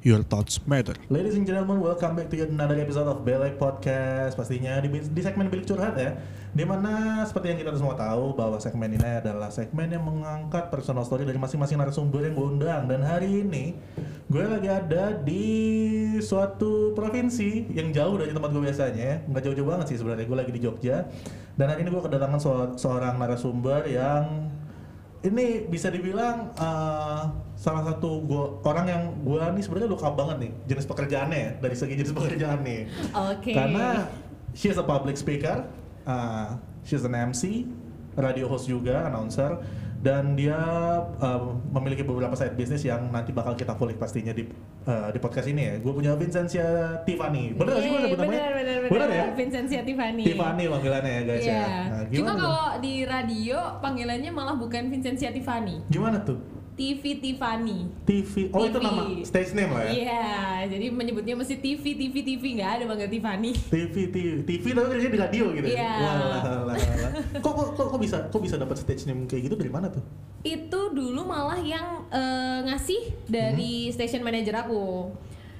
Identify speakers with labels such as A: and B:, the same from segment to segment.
A: your thoughts matter.
B: Ladies and gentlemen, welcome back to yet another episode of Belek Podcast. Pastinya di, di segmen Bilik Curhat ya. Dimana seperti yang kita semua tahu bahwa segmen ini adalah segmen yang mengangkat personal story dari masing-masing narasumber yang gue undang. Dan hari ini gue lagi ada di suatu provinsi yang jauh dari tempat gue biasanya. ya. Nggak jauh-jauh banget sih sebenarnya. Gue lagi di Jogja. Dan hari ini gue kedatangan so- seorang narasumber yang ini bisa dibilang eh, salah satu gua, orang yang gua nih sebenarnya luka banget nih jenis pekerjaannya ya, dari segi jenis pekerjaan nih
C: Oke.
B: karena she is a public speaker eh, she is an MC radio host juga announcer dan dia eh, memiliki beberapa side business yang nanti bakal kita kulik pastinya di eh, di podcast ini ya gue punya Vincencia Tiffany bener gak sih gue
C: Yeay,
B: sebut namanya
C: Iya, Bener, bener, bener.
B: Bener ya
C: Vincentia Tiffany.
B: Tiffany panggilannya ya guys
C: Iya.
B: ya Nah,
C: Cuma
B: gimana tuh?
C: kalau di radio panggilannya malah bukan Vincentia Tiffany,
B: gimana tuh
C: TV Tiffany.
B: TV oh itu
C: TV.
B: nama stage name lah ya
C: Iya, jadi menyebutnya mesti TV, TV, TV nggak ada bangga Tiffany.
B: TV, TV, TV tapi kerjanya di radio gitu.
C: Iya.
B: Wah, lah, lah, lah, lah. Kok, kok, kok, kok bisa, kok bisa dapat stage name kayak gitu dari mana tuh?
C: Itu dulu malah yang eh, ngasih
B: Hmm.
C: dari station manager aku.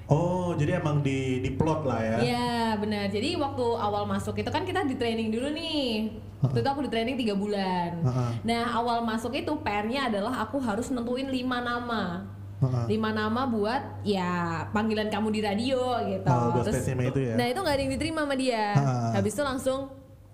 B: Oh, jadi emang di, di plot lah ya.
C: Iya benar. Jadi waktu awal masuk itu kan kita di training dulu nih. Waktu itu aku di training tiga bulan.
B: Heeh.
C: Nah awal masuk itu PR-nya adalah aku harus nentuin lima nama.
B: Heeh.
C: Lima nama buat ya panggilan kamu di radio gitu.
B: Oh, buat stage name itu ya.
C: Nah itu nggak ada yang diterima sama dia.
B: Heeh.
C: Habis itu langsung,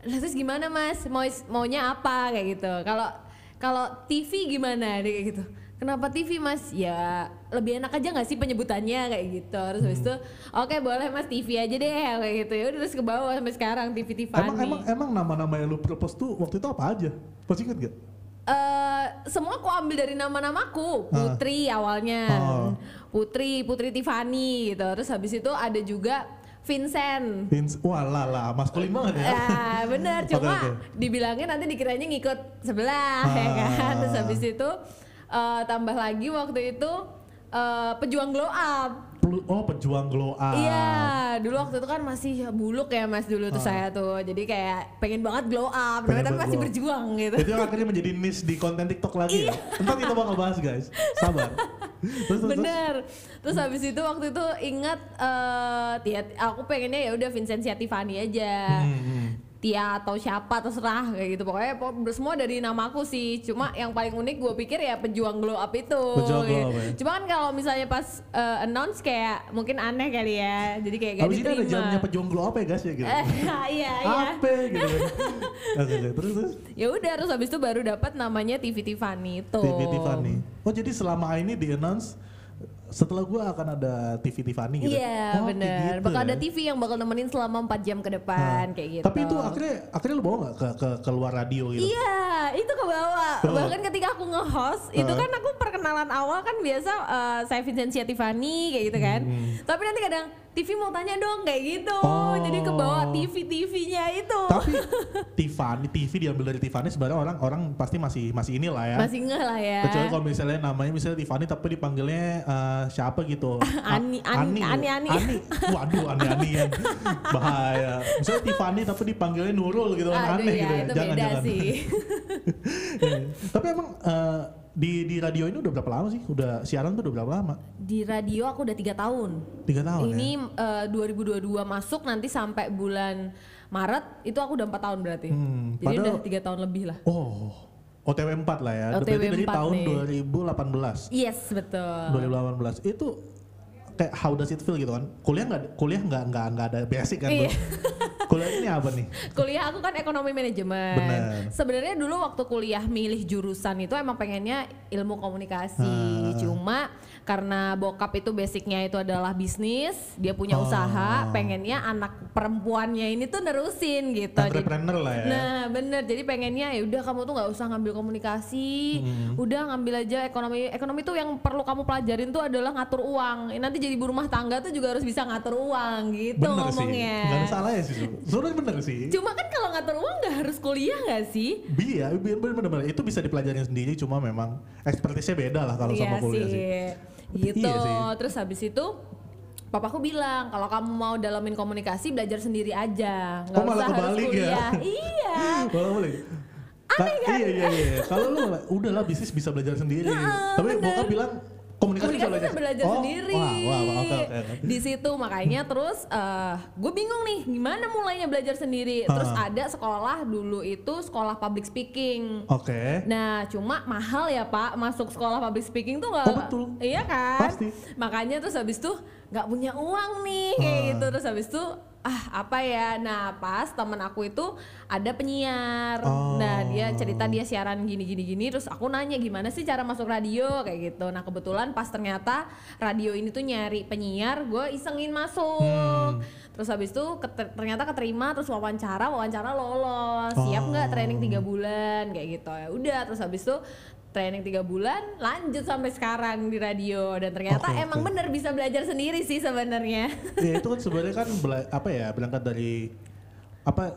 C: "Lah, terus gimana mas? Mau maunya apa kayak gitu? Kalau kalau TV gimana? Dia kayak gitu. Kenapa TV mas? Ya lebih enak aja nggak sih penyebutannya kayak gitu. Terus
B: Hmm.
C: habis itu, oke boleh mas TV aja deh kayak gitu. Ya udah terus ke bawah sampai sekarang TV Tiffany.
B: Emang, emang, emang nama-nama yang lu propose tuh waktu itu apa aja? Masih inget gak?
C: Eh, semua aku ambil dari nama-namaku
B: Ah.
C: Putri awalnya
B: Oh.
C: Putri Putri Tiffany gitu terus habis itu ada juga Vincent
B: Vince, wah lah lah, maskulin banget ya.
C: Ya bener,
B: Oke,
C: cuma
B: oke. Ah.
C: dibilangnya nanti dikiranya ngikut sebelah ya kan. Terus habis itu eh, tambah lagi waktu itu eh, pejuang glow up.
B: Pelu- Oh, pejuang glow up.
C: Iya, dulu waktu itu kan masih buluk ya Mas dulu tuh saya tuh. Jadi kayak pengen banget glow up,
B: Ah. Pengen
C: namanya tapi
B: banget
C: masih
B: glow up.
C: berjuang gitu.
B: Itu yang akhirnya menjadi niche di konten TikTok lagi ya.
C: Iya.
B: Entar kita bakal bahas guys, sabar. Terus, terus, terus.
C: Bener. Terus habis itu waktu itu ingat eh Tia- aku pengennya ya udah Vincentia Tiffany aja.
B: Hmm.
C: Tia atau siapa terserah kayak gitu. Pokoknya po- semua dari namaku sih. Cuma yang paling unik gue pikir ya pejuang glow up itu.
B: Pejuang glow up ya.
C: Cuma kan kalau misalnya pas eh, announce kayak mungkin aneh kali ya. Jadi kayak gak
B: Habis ini ada
C: diterima.
B: jamnya pejuang glow up ya guys ya gitu.
C: Iya, iya.
B: Apa gitu. Oke, oke, terus terus.
C: Ya udah terus habis itu baru dapat namanya TV Tiffany itu.
B: TV Tiffany. Oh jadi selama ini di announce setelah gua akan ada TV Tiffany gitu.
C: Iya
B: Oh, kayak
C: bener,
B: gitu
C: bakal
B: ya. Nah,
C: ada TV yang bakal nemenin selama 4 jam ke depan kayak gitu
B: Tapi itu akhirnya akhirnya lu bawa nggak ke, ke keluar radio gitu?
C: Iya, itu ke bawah.
B: Ke bawah.
C: Bahkan ketika aku nge-host, itu
B: Heeh.
C: kan aku perkenalan awal kan biasa eh, saya Vincentia Tiffany kayak gitu kan. Tapi nanti kadang TV mau tanya dong kayak gitu.
B: Hmm. Oh.
C: Jadi ke bawah TV-TV-nya itu.
B: Tapi Tiffany TV diambil dari Tiffany sebenarnya orang orang pasti masih masih inilah ya.
C: Masih ngeh lah ya.
B: Kecuali kalau misalnya namanya misalnya Tiffany tapi dipanggilnya eh, siapa gitu. A-
C: Ani- Ani- Ani- Ani.
B: Ani. Waduh, Ani Ani yang bahaya. Misalnya Tiffany tapi dipanggilnya Nurul gitu kan
C: Aduh
B: aneh
C: ya,
B: gitu ya.
C: itu
B: Jangan
C: beda
B: jangan.
C: sih.
B: tapi emang eh, di di radio ini udah berapa lama sih? Udah siaran tuh udah berapa lama?
C: Di radio aku udah tiga tahun.
B: Tiga tahun
C: Ini
B: ya.
C: eh, 2022 masuk nanti sampai bulan Maret itu aku udah empat tahun berarti.
B: Hmm,
C: Jadi
B: padahal-
C: udah tiga tahun lebih lah.
B: Oh, OTW 4 lah ya.
C: OTW
B: Berarti dari
C: empat
B: tahun
C: nih. Iya.
B: 2018.
C: Yes betul.
B: 2018 itu kayak how does it feel gitu kan? Kuliah nggak kuliah nggak nggak nggak ada basic kan?
C: Iya.
B: Bro? kuliah ini apa nih?
C: Kuliah aku kan ekonomi manajemen.
B: Benar.
C: Sebenarnya dulu waktu kuliah milih jurusan itu emang pengennya ilmu komunikasi. Cuma karena bokap itu basicnya itu adalah bisnis, dia punya
B: Oh.
C: usaha, pengennya anak perempuannya ini tuh nerusin gitu. Jadi-
B: entrepreneur lah ya.
C: Nah bener, jadi pengennya ya udah kamu tuh nggak usah ngambil komunikasi, udah ngambil aja ekonomi. Ekonomi tuh yang perlu kamu pelajarin tuh adalah ngatur uang. Nanti jadi ibu rumah tangga tuh juga harus bisa ngatur uang gitu
B: bener sih,
C: ngomongnya.
B: nggak ada salah ya sih. Su. Sebenarnya bener sih.
C: Cuma kan kalau ngatur uang nggak harus kuliah nggak sih?
B: Iya, bener-bener itu bisa dipelajarin sendiri, cuma memang ekspertisnya beda lah kalau
C: Iya
B: sama kuliah sih.
C: Gitu.
B: Iya sih.
C: Terus habis itu Papaku bilang kalau kamu mau dalamin komunikasi belajar sendiri aja, nggak
B: Oh, malah
C: usah harus
B: kebalik ya?
C: kuliah. iya.
B: Boleh boleh. Ka- iya iya iya. Kalau lu malah, udahlah bisnis bisa belajar sendiri.
C: Heeh,
B: Tapi
C: Nah, bener.
B: bokap bilang komunikasi,
C: komunikasi bisa belajar
B: Oh,
C: sendiri.
B: Wah wah wah, oke oke. oke.
C: Di situ makanya terus gue bingung nih gimana mulainya belajar sendiri. Terus
B: Ah.
C: ada sekolah dulu itu sekolah public speaking.
B: Oke.
C: Nah, cuma mahal ya Pak masuk sekolah public speaking tuh
B: Oh,
C: nggak,
B: betul.
C: iya kan?
B: Pasti.
C: Makanya terus habis tuh nggak punya uang nih kayak
B: Ah.
C: gitu terus habis tuh ah apa ya? Nah, pas temen aku itu ada penyiar.
B: Oh.
C: Nah, dia cerita dia siaran gini gini gini terus aku nanya gimana sih cara masuk radio kayak gitu. Nah, kebetulan pas ternyata radio ini tuh nyari penyiar, gue isengin masuk.
B: Hmm.
C: Terus habis itu keter- ternyata keterima terus wawancara, wawancara lolos. Siap nggak training tiga
B: Oh.
C: bulan kayak gitu ya udah terus habis itu training tiga bulan lanjut sampai sekarang di radio dan ternyata
B: Oke, oke.
C: emang bener bisa belajar sendiri sih sebenarnya
B: ya itu kan sebenarnya kan bela- apa ya berangkat dari apa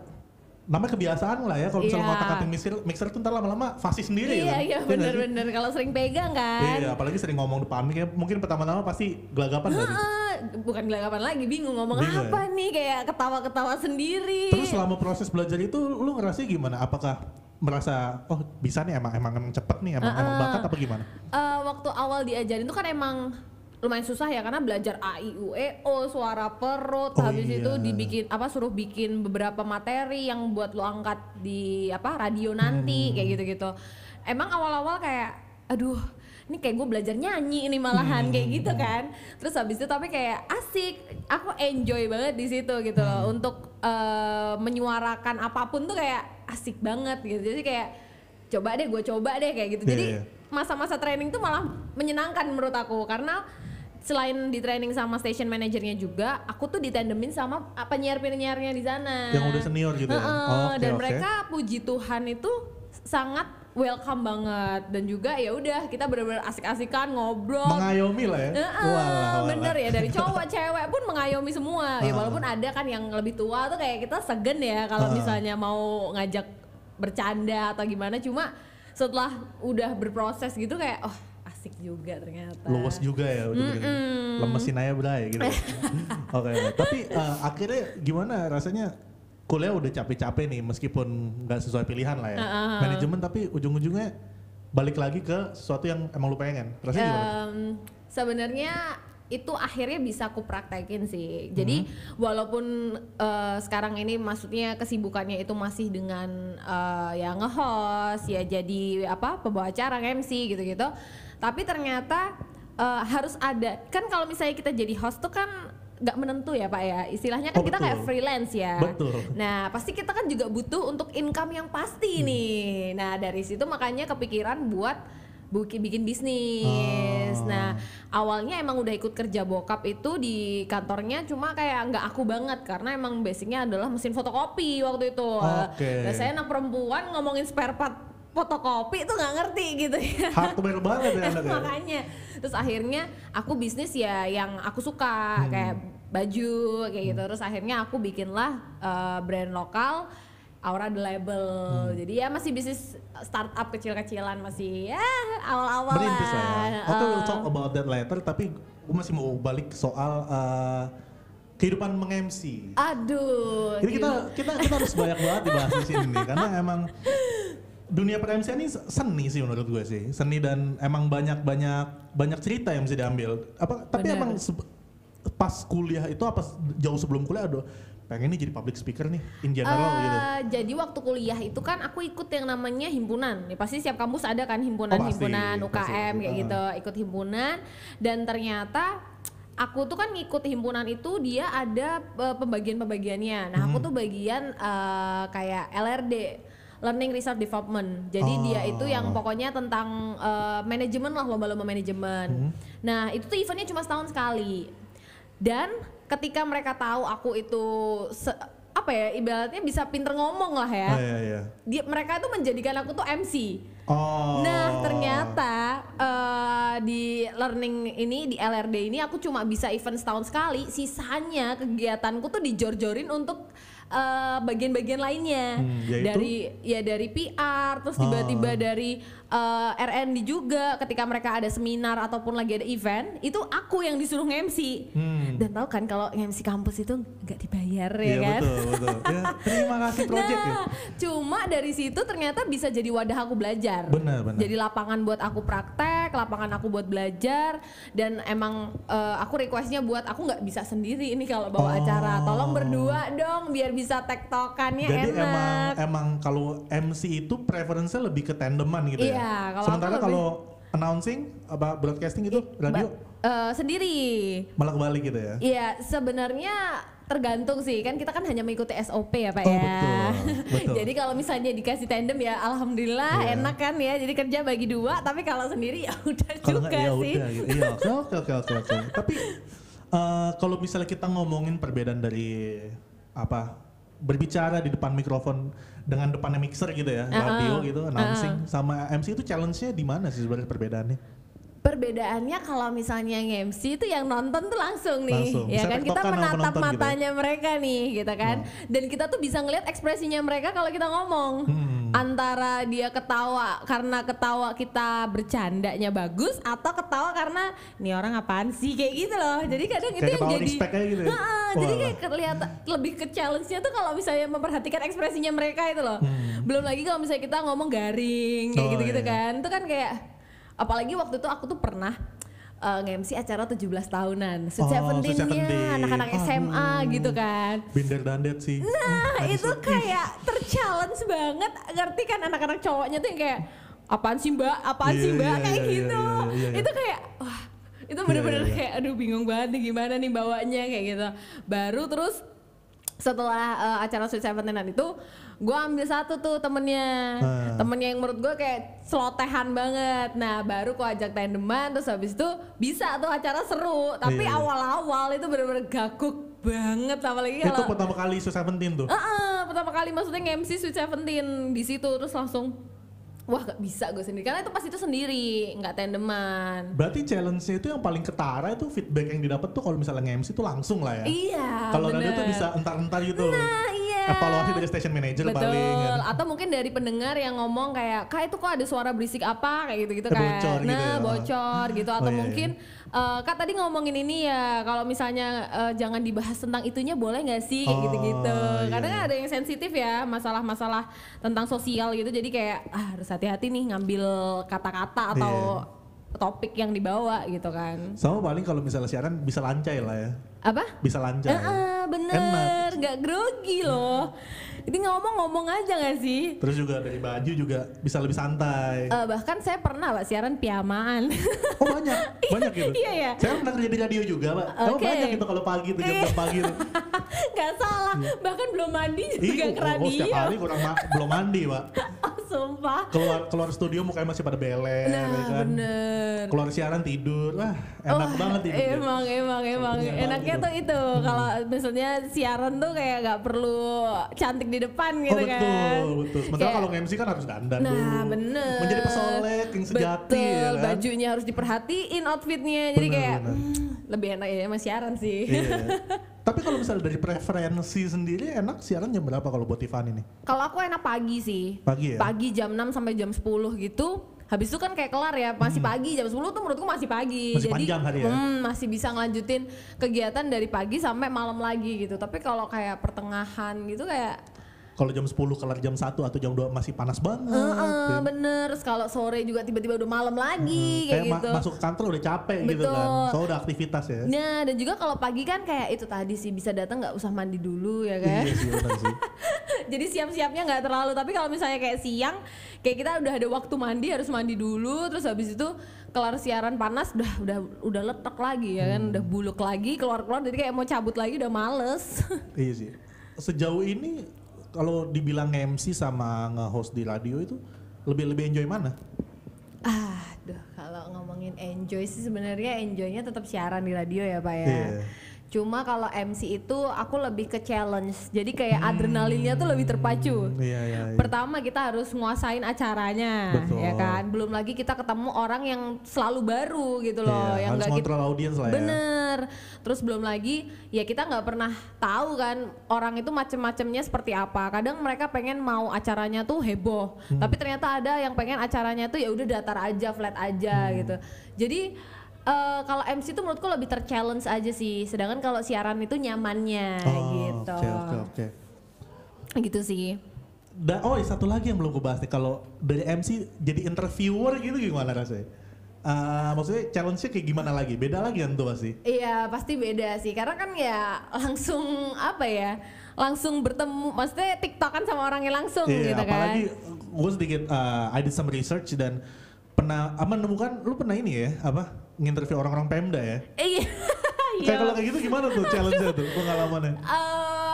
B: namanya kebiasaan lah ya kalau misalnya
C: Iya.
B: ngotak atik mixer mixer tuh ntar lama-lama fasih sendiri
C: iya
B: kan?
C: iya
B: nggak sih?
C: bener-bener kalau sering pegang
B: Iya,
C: kan
B: apalagi sering ngomong depan mic ya, mungkin pertama-tama pasti gelagapan nggak sih?
C: Heeh, bukan gelagapan lagi bingung ngomong
B: Bingung ya?
C: apa nih kayak ketawa-ketawa sendiri
B: Terus selama proses belajar itu lu ngerasa gimana? Apakah merasa oh bisa nih emang emang emang cepet nih emang emang
C: Heeh.
B: bakat apa gimana?
C: Eh, waktu awal diajarin tuh kan emang lumayan susah ya karena belajar A I U E O suara perut
B: Oh,
C: habis
B: iya.
C: itu dibikin apa suruh bikin beberapa materi yang buat lo angkat di apa radio
B: Hmm.
C: nanti kayak gitu-gitu. Emang awal-awal kayak aduh ini kayak gue belajar nyanyi ini malahan kayak gitu
B: Hmm.
C: kan terus habis itu tapi kayak asik aku enjoy banget di situ gitu
B: Hmm.
C: loh untuk eh, menyuarakan apapun tuh kayak asik banget gitu jadi kayak coba deh gue coba deh kayak gitu
B: Iya,
C: jadi
B: iya.
C: masa-masa training tuh malah menyenangkan menurut aku karena selain di training sama station manajernya juga, aku tuh ditandemin sama ah, penyiar-penyiarnya di sana.
B: Yang udah senior gitu ya?
C: Heeh,
B: Oh, oke,
C: dan
B: oke.
C: mereka puji Tuhan itu sangat welcome banget dan juga ya udah kita bener-bener asik-asikan ngobrol.
B: Mengayomi lah ya.
C: Heeh,
B: Walah, walah.
C: bener ya dari cowok cewek pun mengayomi semua ya walaupun ada kan yang lebih tua tuh kayak kita segen ya kalau
B: Ah.
C: misalnya mau ngajak bercanda atau gimana cuma setelah udah berproses gitu kayak oh asik juga ternyata
B: Luwes juga ya udah gitu. Lemesin aja bray gitu. Oke. Tapi eh, akhirnya gimana rasanya kuliah udah capek-capek nih meskipun nggak sesuai pilihan lah ya. Manajemen tapi ujung-ujungnya balik lagi ke sesuatu yang emang lu pengen. Rasanya gimana?
C: Em, Sebenarnya itu akhirnya bisa aku praktekin sih. Jadi
B: Mhm.
C: walaupun eh, sekarang ini maksudnya kesibukannya itu masih dengan eh, ya nge-host, ya jadi apa pembawa acara MC gitu-gitu. Tapi ternyata eh, harus ada kan kalau misalnya kita jadi host tuh kan nggak menentu ya pak ya istilahnya kan
B: Oh,
C: kita kayak
B: betul.
C: freelance ya
B: Betul.
C: Nah, pasti kita kan juga butuh untuk income yang pasti
B: Hmm.
C: nih. Nah, dari situ makanya kepikiran buat buki bikin bisnis.
B: Ah.
C: Nah, awalnya emang udah ikut kerja bokap itu di kantornya cuma kayak nggak aku banget karena emang basicnya adalah mesin fotokopi waktu itu.
B: Oke.
C: Nah, saya anak perempuan ngomongin spare part fotokopi itu nggak ngerti gitu ya.
B: Hardware banget ya anak ya.
C: makanya terus akhirnya aku bisnis ya yang aku
B: Hmm.
C: suka kayak baju kayak gitu terus akhirnya aku bikinlah eh, brand lokal Aura the Label
B: Hmm.
C: jadi ya masih bisnis startup kecil-kecilan masih ya awal-awal
B: Merintis lah ya.
C: lah
B: Oke, we'll
C: Eh,
B: talk about that later. Tapi gue masih mau balik soal eh, kehidupan meng-MC.
C: aduh gitu.
B: Jadi kita kita kita harus banyak banget dibahas di sini nih, karena emang dunia per MC ini seni sih menurut gue sih, seni dan emang banyak banyak banyak cerita yang bisa diambil. Apa tapi
C: Benar.
B: emang sebe- pas kuliah itu apa jauh sebelum kuliah aduh pengen nih jadi public speaker nih in general
C: Eh,
B: gitu.
C: Jadi waktu kuliah itu kan aku ikut yang namanya himpunan. Ya, pasti setiap kampus ada
B: Oh,
C: kan
B: pasti,
C: himpunan-himpunan UKM
B: pasti.
C: kayak
B: Ah.
C: gitu, ikut himpunan dan ternyata aku tuh kan ngikut himpunan itu dia
B: Hmm.
C: ada eh, pembagian-pembagiannya. Nah, aku tuh bagian eh, kayak LRD learning research development. Jadi dia
B: Oh.
C: itu yang pokoknya tentang eh, manajemen lah lomba-lomba
B: Hmm.
C: manajemen. Nah itu tuh eventnya cuma setahun sekali. Dan ketika mereka tahu aku itu se- apa ya ibaratnya bisa pinter ngomong lah ya.
B: Oh, iya, iya.
C: Dia, mereka itu menjadikan aku tuh MC.
B: Oh.
C: Nah ternyata eh, di learning ini di LRD ini aku cuma bisa event setahun sekali. Sisanya kegiatanku tuh dijor-jorin untuk eh, bagian-bagian lainnya
B: Hmm, Ah. yaitu?
C: dari ya dari PR terus tiba-tiba dari eh, R&D juga ketika mereka ada seminar ataupun lagi ada event itu aku yang disuruh MC
B: Hmm.
C: dan tahu kan kalau MC kampus itu nggak dibayar ya
B: Iya
C: kan
B: betul betul. Ya, terima kasih project ya.
C: Nah, cuma dari situ ternyata bisa jadi wadah aku belajar.
B: Benar, benar.
C: Jadi lapangan buat aku praktek, lapangan aku buat belajar dan emang eh, aku requestnya buat aku nggak bisa sendiri ini kalau bawa
B: Oh.
C: acara. Tolong berdua dong biar bisa tektokannya
B: Jadi
C: Iya, enak.
B: emang emang kalau MC itu preferensinya lebih ke tandeman gitu ya.
C: Iya, kalau
B: Sementara
C: aku lebih-
B: kalau announcing apa broadcasting itu radio
C: Ba- eh, sendiri.
B: malah kebalik gitu ya.
C: Iya, sebenarnya tergantung sih kan kita kan hanya mengikuti SOP ya Pak
B: Oh,
C: ya.
B: betul, betul.
C: Jadi kalau misalnya dikasih tandem ya alhamdulillah
B: Iya.
C: enak kan ya. Jadi kerja bagi dua, tapi kalau sendiri ya udah
B: Kalau
C: juga
B: nggak ya
C: sih.
B: udah gitu. Iya, oke oke oke oke. oke. Tapi eh, kalau misalnya kita ngomongin perbedaan dari apa berbicara di depan mikrofon dengan depannya mixer gitu ya,
C: Ah,
B: radio
C: ah.
B: gitu, announcing sama MC itu challenge-nya di mana sih sebenarnya perbedaannya?
C: Perbedaannya kalau misalnya yang MC itu yang nonton tuh langsung nih,
B: Langsung.
C: ya
B: Bisa
C: kan kita
B: tektokan sama
C: menatap
B: penonton gitu.
C: matanya mereka nih, gitu kan. Dan kita tuh bisa ngelihat ekspresinya mereka kalau kita ngomong.
B: Hmm.
C: Antara dia ketawa karena ketawa kita bercandanya bagus atau ketawa karena nih orang apaan sih kayak gitu loh. Jadi kadang itu
B: Kayak
C: yang
B: ketawa
C: jadi
B: respect aja gitu ya?
C: Heeh, jadi
B: Wah.
C: kayak kelihatan lebih ke challenge-nya tuh kalau misalnya memperhatikan ekspresinya mereka itu loh. Belum lagi kalau misalnya kita ngomong garing kayak
B: Hmm. Oh,
C: gitu-gitu
B: iya.
C: kan kan itu kan kayak apalagi waktu itu aku tuh pernah eh, nge-MC acara 17
B: Oh,
C: tahunan, Sweet
B: 17.
C: Seventeen-nya, anak-anak SMA gitu kan.
B: Binder dandet sih.
C: Nah, itu kayak terchallenge banget. Ngerti kan anak-anak cowoknya tuh yang kayak apaan sih Mbak? Apaan
B: Iya,
C: sih Mbak?
B: iya,
C: Kayak
B: iya,
C: gitu.
B: iya, iya, iya.
C: Itu kayak wah, itu bener-bener
B: iya.
C: kayak aduh bingung banget nih gimana nih bawanya kayak gitu. Baru terus setelah eh, acara Sweet Seventeenan itu gue ambil satu tuh temennya
B: Ah.
C: temennya yang menurut gue kayak selotehan banget nah baru gue ajak tandeman terus habis itu bisa tuh acara seru tapi
B: Iya, iya.
C: awal-awal itu bener-bener gaguk banget apalagi
B: Itu
C: kalau
B: pertama kali Sweet Seventeen tuh.
C: Ah, ah, pertama kali maksudnya nge-MC Sweet Seventeen di situ terus langsung wah gak bisa gue sendiri karena itu pas itu sendiri nggak tandeman.
B: Berarti challenge-nya itu yang paling ketara itu feedback yang didapat tuh kalau misalnya nge-MC tuh langsung lah ya.
C: Iya.
B: kalau radio tuh
C: bener.
B: bisa entar-entar gitu.
C: Nah, iya.
B: Evaluasi dari station manager
C: Betul.
B: paling. kan.
C: Atau mungkin dari pendengar yang ngomong kayak, "Kak, itu kok ada suara berisik apa?" kayak gitu-gitu
B: Eh,
C: kan.
B: bocor gitu
C: nah,
B: ya.
C: bocor gitu atau
B: iya, iya.
C: mungkin eh, "Kak, tadi ngomongin ini ya, kalau misalnya eh, jangan dibahas tentang itunya boleh nggak sih?" kayak
B: Oh,
C: gitu-gitu.
B: iya,
C: Kadang
B: iya.
C: ada yang sensitif ya, masalah-masalah tentang sosial gitu. Jadi kayak ah, harus hati-hati nih ngambil kata-kata atau
B: Iya.
C: topik yang dibawa gitu kan.
B: Sama paling kalau misalnya siaran bisa lancai lah ya.
C: Apa?
B: Bisa lancai.
C: Eh, eh, bener,
B: Enak.
C: nggak grogi loh. Jadi ngomong-ngomong aja nggak sih?
B: Terus juga dari baju juga bisa lebih santai.
C: Eh, bahkan saya pernah pak siaran piamaan.
B: Oh banyak, banyak gitu.
C: Iya, iya.
B: Saya pernah kerja di radio juga, Pak. Oh
C: Oke. Iya.
B: banyak gitu kalau pagi tuh jam jam pagi tuh.
C: Gak salah, bahkan belum mandi juga
B: Iya. Ih, oh,
C: ke
B: oh, setiap
C: kan radio.
B: hari kurang ma- belum mandi, Pak.
C: Oh, sumpah.
B: Keluar keluar studio mukanya masih pada beler,
C: Nah
B: ya kan.
C: bener.
B: Keluar siaran tidur, wah enak
C: Oh,
B: banget tidur.
C: Emang, emang, emang.
B: Punya banget
C: Enaknya
B: gitu.
C: tuh itu. Kalau misalnya siaran tuh kayak gak perlu cantik di depan
B: Oh
C: gitu
B: betul,
C: kan.
B: betul. Sementara
C: Kayak-
B: kalau MC kan harus dandan
C: Nah
B: dulu.
C: bener
B: Menjadi pesolek yang sejati
C: Betul,
B: ya kan.
C: bajunya harus diperhatiin outfitnya Jadi
B: Bener,
C: kayak
B: bener.
C: "Hmm, lebih enak ya emang siaran sih
B: Iya. Tapi kalau misalnya dari preferensi sendiri enak siaran jam berapa kalau buat Tiffany nih?
C: Kalau aku enak pagi sih
B: Pagi ya?
C: Pagi jam 6 sampai jam 10 gitu Habis itu kan kayak kelar ya Masih pagi jam 10 tuh menurutku masih
B: Hmm.
C: pagi
B: Masih panjang hari ya?
C: hmm, Masih bisa ngelanjutin kegiatan dari pagi sampai malam lagi gitu Tapi kalau kayak pertengahan gitu kayak
B: Kalau jam 10 kelar jam 1 atau jam 2 masih panas banget.
C: "Eh,
B: ya.
C: eh, bener Terus kalau sore juga tiba-tiba udah malam
B: Hmm,
C: lagi Kayak,
B: Kayak ma-
C: gitu
B: masuk ke kantor udah capek gitu kan.
C: Betul.
B: Soalnya udah aktivitas ya.
C: Nah, dan juga kalau pagi kan kayak itu tadi sih bisa datang nggak usah mandi dulu ya kan.
B: Iya sih benar sih.
C: Jadi siap-siapnya nggak terlalu. Tapi kalau misalnya kayak siang, kayak kita udah ada waktu mandi harus mandi dulu. Terus habis itu kelar siaran panas, udah udah udah letek lagi ya kan, udah buluk lagi, keluar keluar. Jadi kayak mau cabut lagi udah males.
B: Iya sih. Sejauh ini kalau dibilang MC sama nge-host di radio itu lebih lebih enjoy mana?
C: Ah, Aduh, kalau ngomongin enjoy sih sebenarnya enjoynya tetap siaran di radio ya pak ya.
B: Iya.
C: Cuma kalau MC itu aku lebih ke challenge, jadi kayak adrenalinnya tuh lebih terpacu.
B: Hmm, Iya iya. iya.
C: Pertama kita harus nguasain acaranya,
B: Betul.
C: ya kan. Belum lagi kita ketemu orang yang selalu baru gitu loh,
B: Iya,
C: yang
B: harus
C: nggak kita
B: ngontrol audiens lah ya.
C: Bener. Terus belum lagi ya kita nggak pernah tahu kan orang itu macem-macemnya seperti apa. Kadang mereka pengen mau acaranya tuh heboh,
B: Hmm.
C: tapi ternyata ada yang pengen acaranya tuh ya udah datar aja, flat aja
B: Hmm.
C: gitu. Jadi eh, kalau MC itu menurutku lebih terchallenge aja sih. Sedangkan kalau siaran itu nyamannya
B: Oh,
C: gitu.
B: Oke oke oke.
C: Gitu sih.
B: Da- oh iya, satu lagi yang belum gue bahas nih kalau dari MC jadi interviewer gitu gimana rasanya? Eh, maksudnya challenge-nya kayak gimana lagi? Beda lagi kan tuh pasti.
C: Iya pasti beda sih karena kan ya langsung apa ya langsung bertemu maksudnya tiktokan sama orangnya langsung
B: Iya,
C: gitu kan
B: apalagi gue sedikit uh, I did some research dan pernah apa menemukan lu pernah ini ya apa nginterview orang-orang Pemda ya.
C: Iya.
B: Kayak kalau kayak gitu gimana tuh challenge-nya tuh pengalamannya?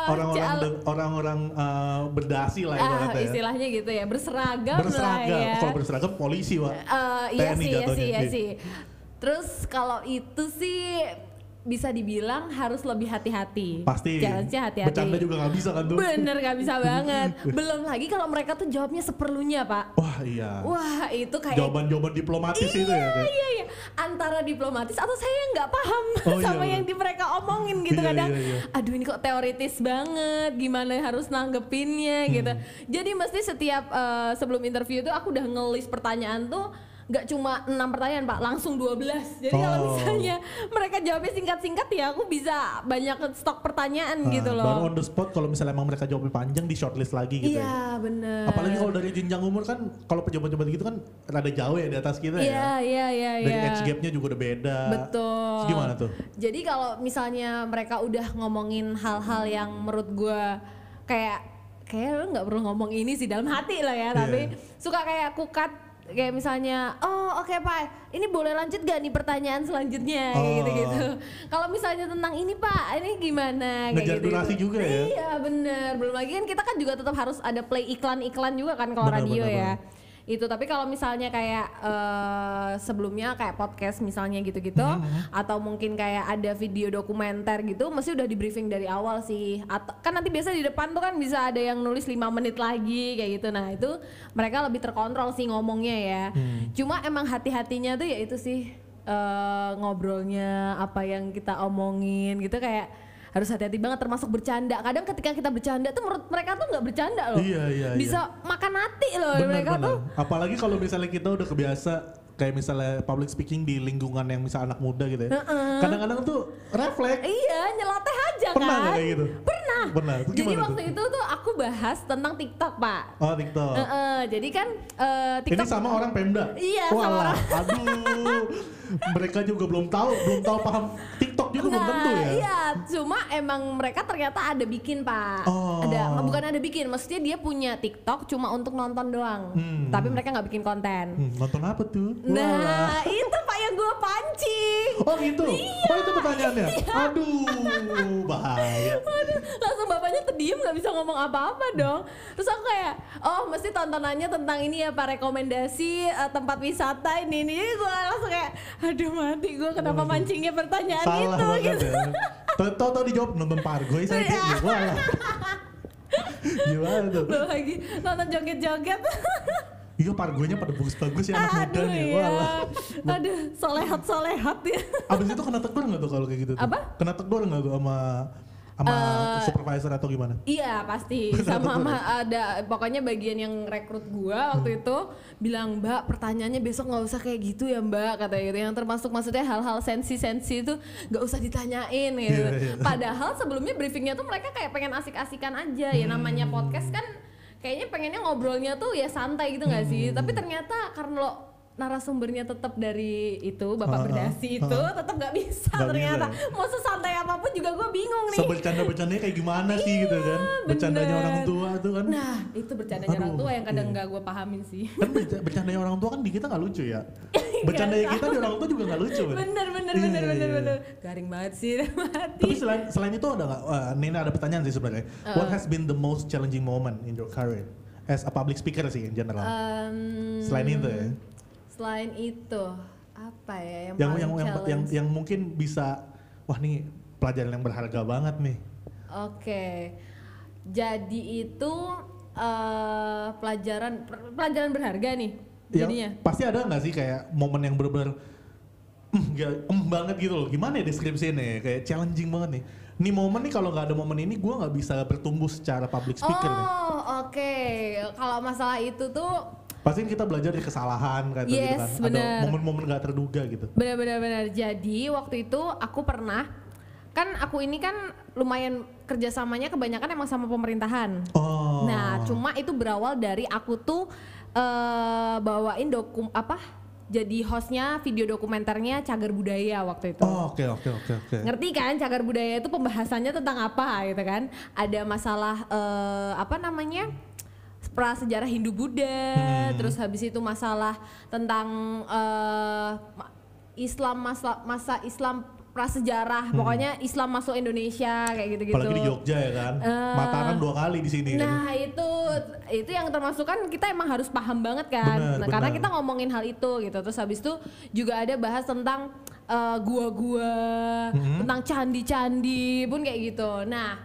C: Eh,
B: Orang-orang
C: jal-
B: de- orang-orang uh, berdasi lah
C: ah,
B: ibaratnya. ya.
C: istilahnya gitu ya, berseragam,
B: berseragam.
C: lah ya.
B: Kalau berseragam polisi, Wak.
C: Eh,
B: TNI
C: iya sih, iya
B: jatuhnya,
C: sih, iya
B: iya.
C: sih. Terus kalau itu sih bisa dibilang harus lebih hati-hati.
B: Pasti.
C: Challenge-nya hati-hati.
B: Bercanda juga nggak bisa kan tuh.
C: Bener gak bisa banget. Belum lagi kalau mereka tuh jawabnya seperlunya, Pak.
B: Wah, iya.
C: Wah, itu kayak
B: Jawaban-jawaban diplomatis itu ya.
C: Iya
B: kayak.
C: iya iya antara diplomatis atau saya nggak paham
B: Oh, iya,
C: sama
B: bener.
C: yang di mereka omongin gitu
B: Iya,
C: kadang
B: iya, iya.
C: aduh ini kok teoritis banget gimana harus nanggepinnya
B: Hmm.
C: gitu jadi mesti setiap eh, sebelum interview tuh aku udah ngelis pertanyaan tuh nggak cuma enam pertanyaan pak langsung 12 jadi kalau
B: Oh.
C: misalnya mereka jawabnya singkat-singkat ya aku bisa banyak stok pertanyaan
B: Nah,
C: gitu
B: Baru on
C: loh
B: the spot kalau misalnya emang mereka jawabnya panjang di shortlist lagi gitu ya.
C: iya bener
B: Apalagi kalau dari jenjang umur kan kalau pejabat-pejabat gitu kan rada jauh ya di atas kita ya.
C: iya iya iya
B: Dari
C: iya.
B: age gapnya juga udah beda.
C: Betul.
B: Terus gimana tuh?
C: Jadi kalau misalnya mereka udah ngomongin hal-hal yang menurut gue kayak kayak lu nggak perlu ngomong ini sih dalam hati lah ya, tapi
B: Iya.
C: suka kayak kukat kayak misalnya oh oke pak ini boleh lanjut gak nih pertanyaan selanjutnya kayak
B: Oh.
C: gitu-gitu kalau misalnya tentang ini pak ini gimana
B: Ngejar
C: gitu-gitu.
B: durasi juga ya?
C: iya bener belum lagi kan kita kan juga tetap harus ada play iklan-iklan juga kan kalau
B: Benar,
C: radio
B: benar,
C: ya
B: benar.
C: itu tapi kalau misalnya kayak eh, sebelumnya kayak podcast misalnya gitu-gitu
B: Mm-hmm.
C: atau mungkin kayak ada video dokumenter gitu mesti udah di briefing dari awal sih atau kan nanti biasa di depan tuh kan bisa ada yang nulis lima menit lagi kayak gitu nah itu mereka lebih terkontrol sih ngomongnya ya
B: Hmm.
C: cuma emang hati-hatinya tuh ya itu sih eh, ngobrolnya apa yang kita omongin gitu kayak harus hati-hati banget termasuk bercanda kadang ketika kita bercanda tuh menurut mereka tuh nggak bercanda loh
B: Iya, iya, iya.
C: bisa makan hati loh
B: Bener,
C: mereka
B: bener.
C: tuh
B: Apalagi kalau misalnya kita udah kebiasa kayak misalnya public speaking di lingkungan yang misalnya anak muda gitu ya. Kadang-kadang tuh refleks.
C: iya nyeloteh aja
B: Pernah
C: kan
B: nggak kayak gitu?
C: pernah
B: Pernah. Terus
C: jadi
B: gimana
C: waktu
B: tuh?
C: itu tuh aku bahas tentang TikTok pak
B: Oh TikTok.
C: Heeh, jadi kan eh,
B: Ini
C: TikTok
B: sama orang Pemda.
C: Iya, sama
B: Walah, Aduh, mereka juga belum tahu, belum tahu paham TikTok juga belum tentu ya.
C: iya cuma emang mereka ternyata ada bikin pak
B: Oh.
C: ada bukan ada bikin maksudnya dia punya TikTok cuma untuk nonton doang
B: Hmm.
C: tapi mereka nggak bikin konten
B: Hmm, nonton apa tuh? Walah.
C: nah itu pak yang gue pancing
B: Oh gitu?
C: Iya.
B: Oh itu pertanyaannya? Aduh, bahaya.
C: Waduh, langsung bapaknya terdiam nggak bisa ngomong apa-apa dong terus aku kayak oh mesti tontonannya tentang ini ya pak rekomendasi eh, tempat wisata ini ini gue langsung kayak aduh mati gue kenapa mancingnya pertanyaan
B: Salah
C: itu
B: banget
C: gitu Iya.
B: ya. Tau- Tau tau dijawab nonton Pargoy saya kayaknya. Walah. Gimana tuh?
C: Belum lagi nonton joget-joget
B: Iya Pargoynya pada bagus-bagus ya anak muda
C: aduh
B: nih.
C: ya
B: Walah.
C: aduh solehat solehat ya
B: Abis itu kena tegur nggak tuh kalau kayak gitu? tuh?
C: Apa?
B: Kena tegur nggak tuh sama sama
C: Eh,
B: supervisor atau gimana?
C: Iya pasti sama ma- ada pokoknya bagian yang rekrut gua
B: Hmm.
C: waktu itu bilang Mbak pertanyaannya besok nggak usah kayak gitu ya Mbak kata gitu yang termasuk maksudnya hal-hal sensi-sensi itu nggak usah ditanyain gitu.
B: Iya, iya.
C: Padahal sebelumnya briefingnya tuh mereka kayak pengen asik-asikan aja
B: Hmm.
C: ya namanya podcast kan kayaknya pengennya ngobrolnya tuh ya santai gitu nggak
B: Hmm.
C: sih tapi ternyata karena lo narasumbernya tetap dari itu
B: Ah, ah,
C: bapak berdasi itu
B: ah.
C: tetap nggak bisa
B: Nggak bisa
C: ternyata
B: ya?
C: mau sesantai apapun juga gue bingung nih Iya,
B: Sebercanda-bercandanya kayak gimana sih gitu kan?
C: bener.
B: Bercandanya orang tua tuh kan?
C: Nah, itu bercandanya orang
B: Aduh,
C: tua yang kadang
B: iya.
C: nggak gue pahamin sih.
B: Kan berca- bercandanya orang tua kan di kita nggak lucu ya? Bercandanya
C: Nggak
B: kita di orang tua juga nggak lucu. Bun.
C: bener bener
B: Iya,
C: bener
B: iya,
C: bener
B: iya.
C: bener Iya. garing banget sih mati
B: Tapi selain selain itu ada nggak? eh, Nina ada pertanyaan sih sebenarnya.
C: Eh.
B: What has been the most challenging moment in your career as a public speaker sih in general?
C: Em,
B: selain itu ya.
C: selain itu apa ya
B: Yang
C: yang, paling
B: yang yang,
C: challenge?
B: yang yang mungkin bisa wah nih pelajaran yang berharga banget nih.
C: Oke, jadi itu eh, pelajaran per- pelajaran berharga nih
B: Ya,
C: jadinya.
B: pasti ada nggak sih kayak momen yang bener-bener mm, nggak- mm banget gitu loh. Gimana ya deskripsinya ya? Kayak challenging banget nih. Nih momen nih kalau nggak ada momen ini gue nggak bisa bertumbuh secara public speaker nih.
C: oh oke, kalau masalah itu tuh
B: Pasti kan kita belajar dari kesalahan kayak gitu
C: Yes,
B: kan. Ada
C: bener.
B: momen-momen nggak terduga gitu.
C: benar-benar jadi waktu itu aku pernah kan aku ini kan lumayan kerjasamanya kebanyakan emang sama pemerintahan.
B: Oh.
C: Nah, cuma itu berawal dari aku tuh eh bawain dokum apa? Jadi hostnya video dokumenternya Cagar Budaya waktu itu.
B: Oh, oke oke oke oke.
C: Ngerti kan cagar budaya itu pembahasannya tentang apa gitu kan? Ada masalah eh, apa namanya? prasejarah Hindu Buddha,
B: Hmm.
C: terus habis itu masalah tentang eh, ma- Islam masa masa Islam prasejarah, pokoknya Islam masuk Indonesia kayak gitu-gitu.
B: Hmm. Apalagi di Jogja ya kan.
C: gitu. Eh.
B: Mataram dua kali di sini. kan.
C: Nah itu itu yang termasuk kan kita emang harus paham banget kan,
B: Benar,
C: nah, karena
B: benar.
C: kita ngomongin hal itu gitu. Terus habis itu juga ada bahas tentang eh, gua-gua,
B: Mm-hmm.
C: tentang candi-candi pun kayak gitu. Nah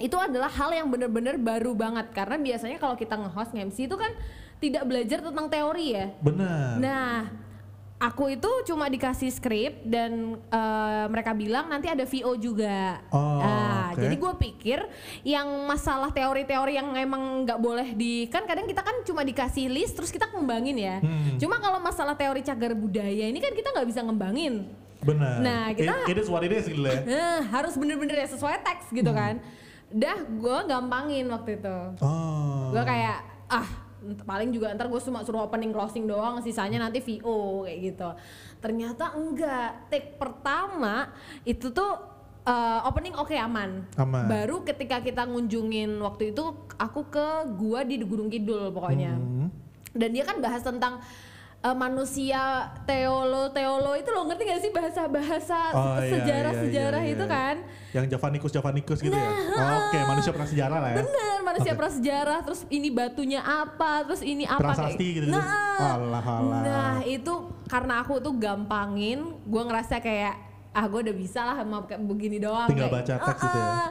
C: itu adalah hal yang bener-bener baru banget karena biasanya kalau kita nge-host nge-MC itu kan tidak belajar tentang teori ya.
B: Benar.
C: Nah, aku itu cuma dikasih skrip dan eh, mereka bilang nanti ada VO juga.
B: Oh,
C: Nah,
B: oke.
C: Jadi gue pikir yang masalah teori-teori yang emang nggak boleh di kan kadang kita kan cuma dikasih list terus kita ngembangin ya.
B: Hmm.
C: Cuma kalau masalah teori cagar budaya ini kan kita nggak bisa ngembangin.
B: Benar.
C: Nah, kita-
B: it, it is what it is gitu ya.
C: Eh, harus bener-bener ya sesuai teks gitu
B: Hmm.
C: kan. Dah gue gampangin waktu itu.
B: Oh.
C: Gue kayak ah ent- paling juga ntar gue cuma suruh opening closing doang sisanya nanti VO kayak gitu ternyata enggak take pertama itu tuh uh, opening oke aman.
B: Aman.
C: baru ketika kita ngunjungin waktu itu aku ke gua di Gunung Kidul pokoknya
B: Hmm.
C: dan dia kan bahas tentang uh, manusia teolo teolo itu loh ngerti gak sih bahasa bahasa
B: Oh, iya, iya,
C: sejarah sejarah
B: iya,
C: itu
B: iya.
C: kan
B: Yang Javanikus Javanikus gitu ya.
C: Nah,
B: Oke, manusia prasejarah lah ya.
C: Bener,
B: Oke.
C: manusia prasejarah, terus ini batunya apa, terus ini apa
B: Prasasti gitu-gitu.
C: Nah,
B: Alah, alah.
C: nah itu karena aku tuh gampangin, gue ngerasa kayak ah gue udah bisa lah sama kayak begini doang.
B: Tinggal
C: kayak,
B: baca teks gitu ya.
C: "Ah, ah."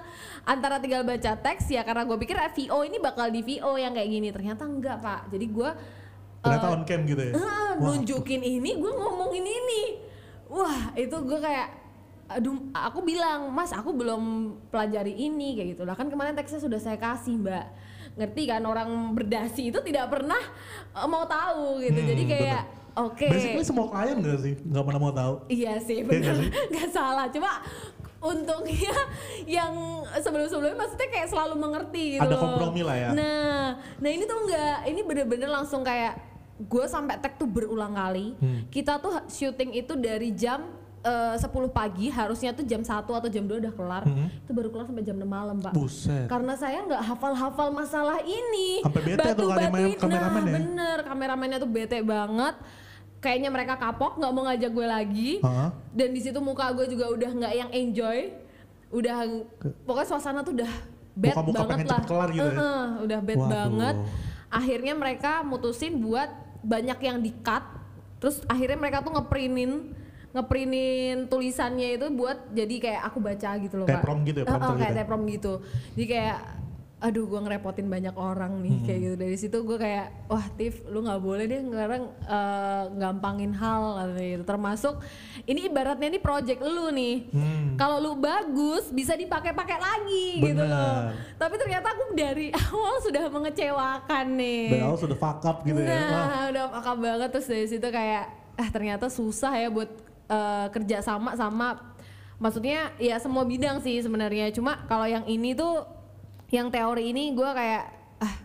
C: Antara tinggal baca teks ya karena gue pikir eh, VO ini bakal di VO yang kayak gini, ternyata enggak pak. Jadi gue
B: Ternyata on cam gitu ya. Wah,
C: Ah, Eh, nunjukin ini gue ngomongin ini wah itu gue kayak aduh aku bilang mas aku belum pelajari ini kayak gitu lah kan kemarin teksnya sudah saya kasih mbak ngerti kan orang berdasi itu tidak pernah eh, mau tahu gitu
B: Hmm,
C: jadi kayak oke
B: Basically semua klien gak sih? Gak pernah mau tahu.
C: Iya sih,
B: nggak
C: benar.
B: sih?
C: Nggak salah. Cuma untungnya yang sebelum-sebelumnya maksudnya kayak selalu mengerti gitu
B: Ada
C: loh.
B: kompromi lah ya.
C: Nah, nah ini tuh enggak, ini bener-bener langsung kayak gue sampai tag tuh berulang kali.
B: Hmm.
C: Kita tuh ha- syuting itu dari jam eh, 10 pagi harusnya tuh jam 1 atau jam 2 udah kelar. Itu baru kelar sampai jam 6 malam, Pak.
B: Hmm. Buset.
C: Karena saya nggak hafal-hafal masalah ini.
B: Sampai bete tuh
C: Batu-batuin.
B: kameramen- kameramen
C: nah,
B: ya.
C: bener, kameramennya tuh bete banget. Kayaknya mereka kapok, nggak mau ngajak gue lagi.
B: Hah?
C: Dan di situ muka gue juga udah nggak yang enjoy. Udah pokoknya suasana tuh udah bad
B: Muka-muka
C: banget
B: pengen
C: lah.
B: cepet kelar gitu ya?
C: Eh, udah bad
B: Waduh.
C: banget. Akhirnya mereka mutusin buat banyak yang di-cut. Terus akhirnya mereka tuh ngeprintin ngeprintin tulisannya itu buat jadi kayak aku baca gitu loh
B: Kayak
C: Pak.
B: prom gitu ya,
C: Eh, eh,
B: prompter
C: kayak
B: gitu.
C: kayak prom gitu jadi kayak aduh gue ngerepotin banyak orang nih kayak gitu dari situ gue kayak wah Tiff lu nggak boleh deh sekarang eh, gampangin hal katanya gitu termasuk ini ibaratnya ini project lu nih
B: Hmm.
C: kalau lu bagus bisa dipakai-pakai lagi gitu
B: Benar.
C: loh tapi ternyata aku dari awal sudah mengecewakan
B: Dan
C: nih
B: awal sudah fuck up gitu ya. Wah,
C: Nah, udah paham banget terus dari situ kayak ah ternyata susah ya buat eh, kerja sama sama maksudnya ya semua bidang sih sebenarnya. Cuma kalau yang ini tuh yang teori ini gua kayak ah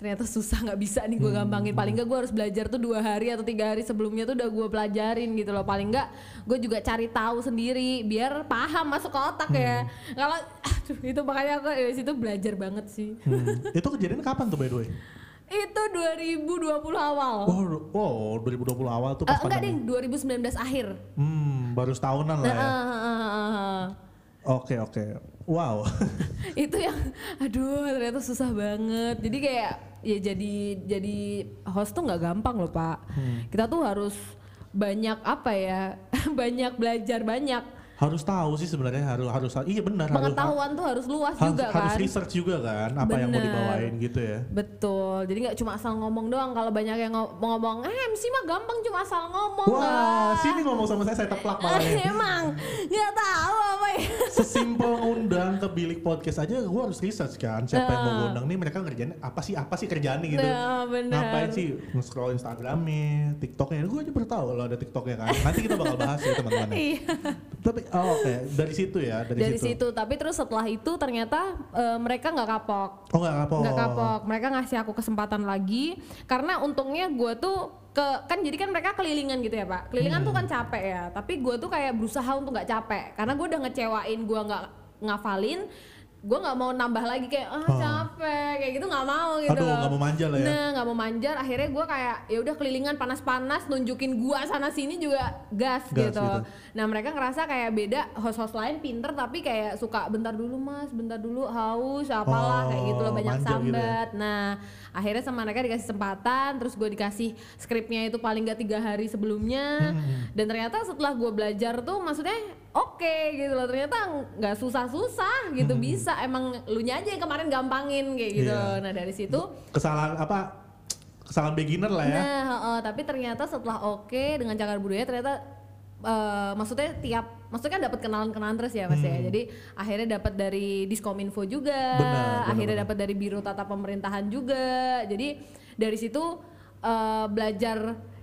C: ternyata susah nggak bisa nih
B: Hmm.
C: gue gampangin paling nggak gue harus belajar tuh dua hari atau tiga hari sebelumnya tuh udah gue pelajarin gitu loh paling nggak gue juga cari tahu sendiri biar paham masuk ke otak ya
B: Hmm.
C: kalau aduh, itu makanya aku dari situ belajar banget sih
B: hmm. Itu kejadian kapan tuh by the way?
C: Itu 2020 awal.
B: Oh, du- oh 2020 awal tuh
C: Eh,
B: pas
C: enggak
B: pandemi.
C: deh, 2019 akhir.
B: Hmm, baru setahunan lah
C: Nah,
B: ya.
C: ah, ah, ah, ah.
B: Oke, oke. Wow.
C: itu yang aduh ternyata susah banget jadi kayak ya jadi jadi host tuh nggak gampang loh pak
B: Hmm.
C: kita tuh harus banyak apa ya banyak belajar banyak
B: harus tahu sih sebenarnya harus harus iya benar harus
C: pengetahuan tuh harus luas
B: harus,
C: juga
B: harus
C: kan
B: research juga kan apa yang mau
C: Benar.
B: dibawain gitu ya.
C: betul jadi nggak cuma asal ngomong doang kalau banyak yang ngo- ngomong eh MC mah gampang cuma asal ngomong
B: Wah,
C: lah."
B: sini ngomong sama saya saya teplak
C: Ah,
B: malah. ya.
C: emang nggak tahu apa ya
B: Sesimpel ngundang ke bilik podcast aja gue harus research kan siapa yang mau
C: Nah.
B: gue undang nih mereka ngerjain apa sih apa sih kerjaan nih gitu.
C: nah benar
B: Ngapain sih nge-scroll Instagramnya, TikToknya, gue aja baru tahu kalau ada TikToknya kan. Nanti kita bakal bahas ya teman-teman. ya.
C: iya
B: Tapi oh, oke dari situ ya dari,
C: dari situ. tapi terus setelah itu ternyata eh, mereka nggak kapok
B: Oh nggak kapok.
C: nggak kapok mereka ngasih aku kesempatan lagi karena untungnya gue tuh ke kan jadi kan mereka kelilingan gitu ya pak kelilingan tuh kan
B: Hmm.
C: capek ya tapi gue tuh kayak berusaha untuk nggak capek karena gue udah ngecewain gue nggak ngafalin gue nggak mau nambah lagi kayak ah
B: Oh.
C: capek kayak gitu nggak mau gitu
B: Aduh,
C: loh.
B: nggak mau manja lah ya.
C: nah nggak mau manjar akhirnya gue kayak ya udah kelilingan panas-panas nunjukin gua sana sini juga gas,
B: Gas
C: gitu.
B: gitu.
C: Nah mereka ngerasa kayak beda host-host lain pinter tapi kayak suka bentar dulu mas, bentar dulu haus, apalah kayak gitu loh
B: Oh,
C: banyak
B: manja gitu ya.
C: sambat. Nah akhirnya sama mereka dikasih kesempatan, terus gue dikasih skripnya itu paling gak tiga hari sebelumnya. Dan ternyata setelah gue belajar tuh maksudnya oke gitu loh ternyata nggak susah-susah gitu bisa emang lu aja yang kemarin gampangin kayak gitu.
B: Iya.
C: Nah dari situ
B: Kesalahan apa? Kesalahan beginner lah ya.
C: Nah, heeh, tapi ternyata setelah oke dengan cagar budaya ternyata eh, maksudnya tiap maksudnya kan dapat kenalan-kenalan terus ya Mas ya. Jadi akhirnya dapat dari Diskominfo juga,
B: Hmm. Benar, benar,
C: akhirnya
B: benar.
C: dapat dari Biro Tata Pemerintahan juga. Jadi dari situ eh, belajar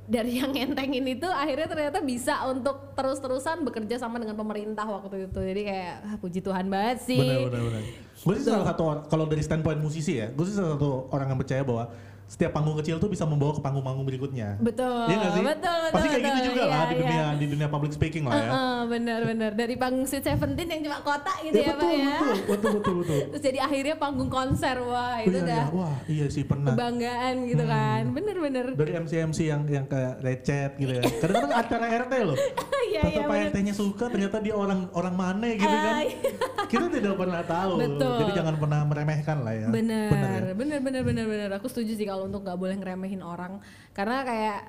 C: dari yang ngentengin itu akhirnya ternyata bisa untuk terus-terusan bekerja sama dengan pemerintah waktu itu. Jadi kayak ah, puji Tuhan banget sih.
B: Benar benar benar. Gue
C: Gitu.
B: sih salah satu or- kalau dari standpoint musisi ya, gue sih salah satu orang yang percaya bahwa setiap panggung kecil tuh bisa membawa ke panggung-panggung berikutnya.
C: Betul,
B: Iya nggak sih?
C: betul, betul,
B: Pasti kayak gitu
C: betul.
B: juga lah
C: Iya,
B: di
C: iya.
B: dunia di dunia public speaking lah ya.
C: Heeh, benar-benar dari panggung Sweet Seventeen yang cuma kotak gitu ya,
B: betul,
C: Pak ya.
B: betul, betul, betul, betul.
C: Terus jadi akhirnya panggung konser wah
B: Iya, iya.
C: itu
B: Hmm.
C: udah
B: Wah, iya sih pernah.
C: kebanggaan gitu kan. Bener-bener.
B: Dari MC-MC yang yang kayak recet gitu ya. Kadang-kadang acara RT loh.
C: Iya
B: Tetap
C: iya
B: Pak
C: bener.
B: RT-nya suka ternyata dia orang orang mana gitu kan.
C: Ah,
B: Kita tidak pernah tahu.
C: Betul.
B: Jadi jangan pernah meremehkan lah ya.
C: Bener,
B: Bener ya.
C: bener, bener, bener, bener. Aku setuju sih kalau untuk nggak boleh ngeremehin orang, karena kayak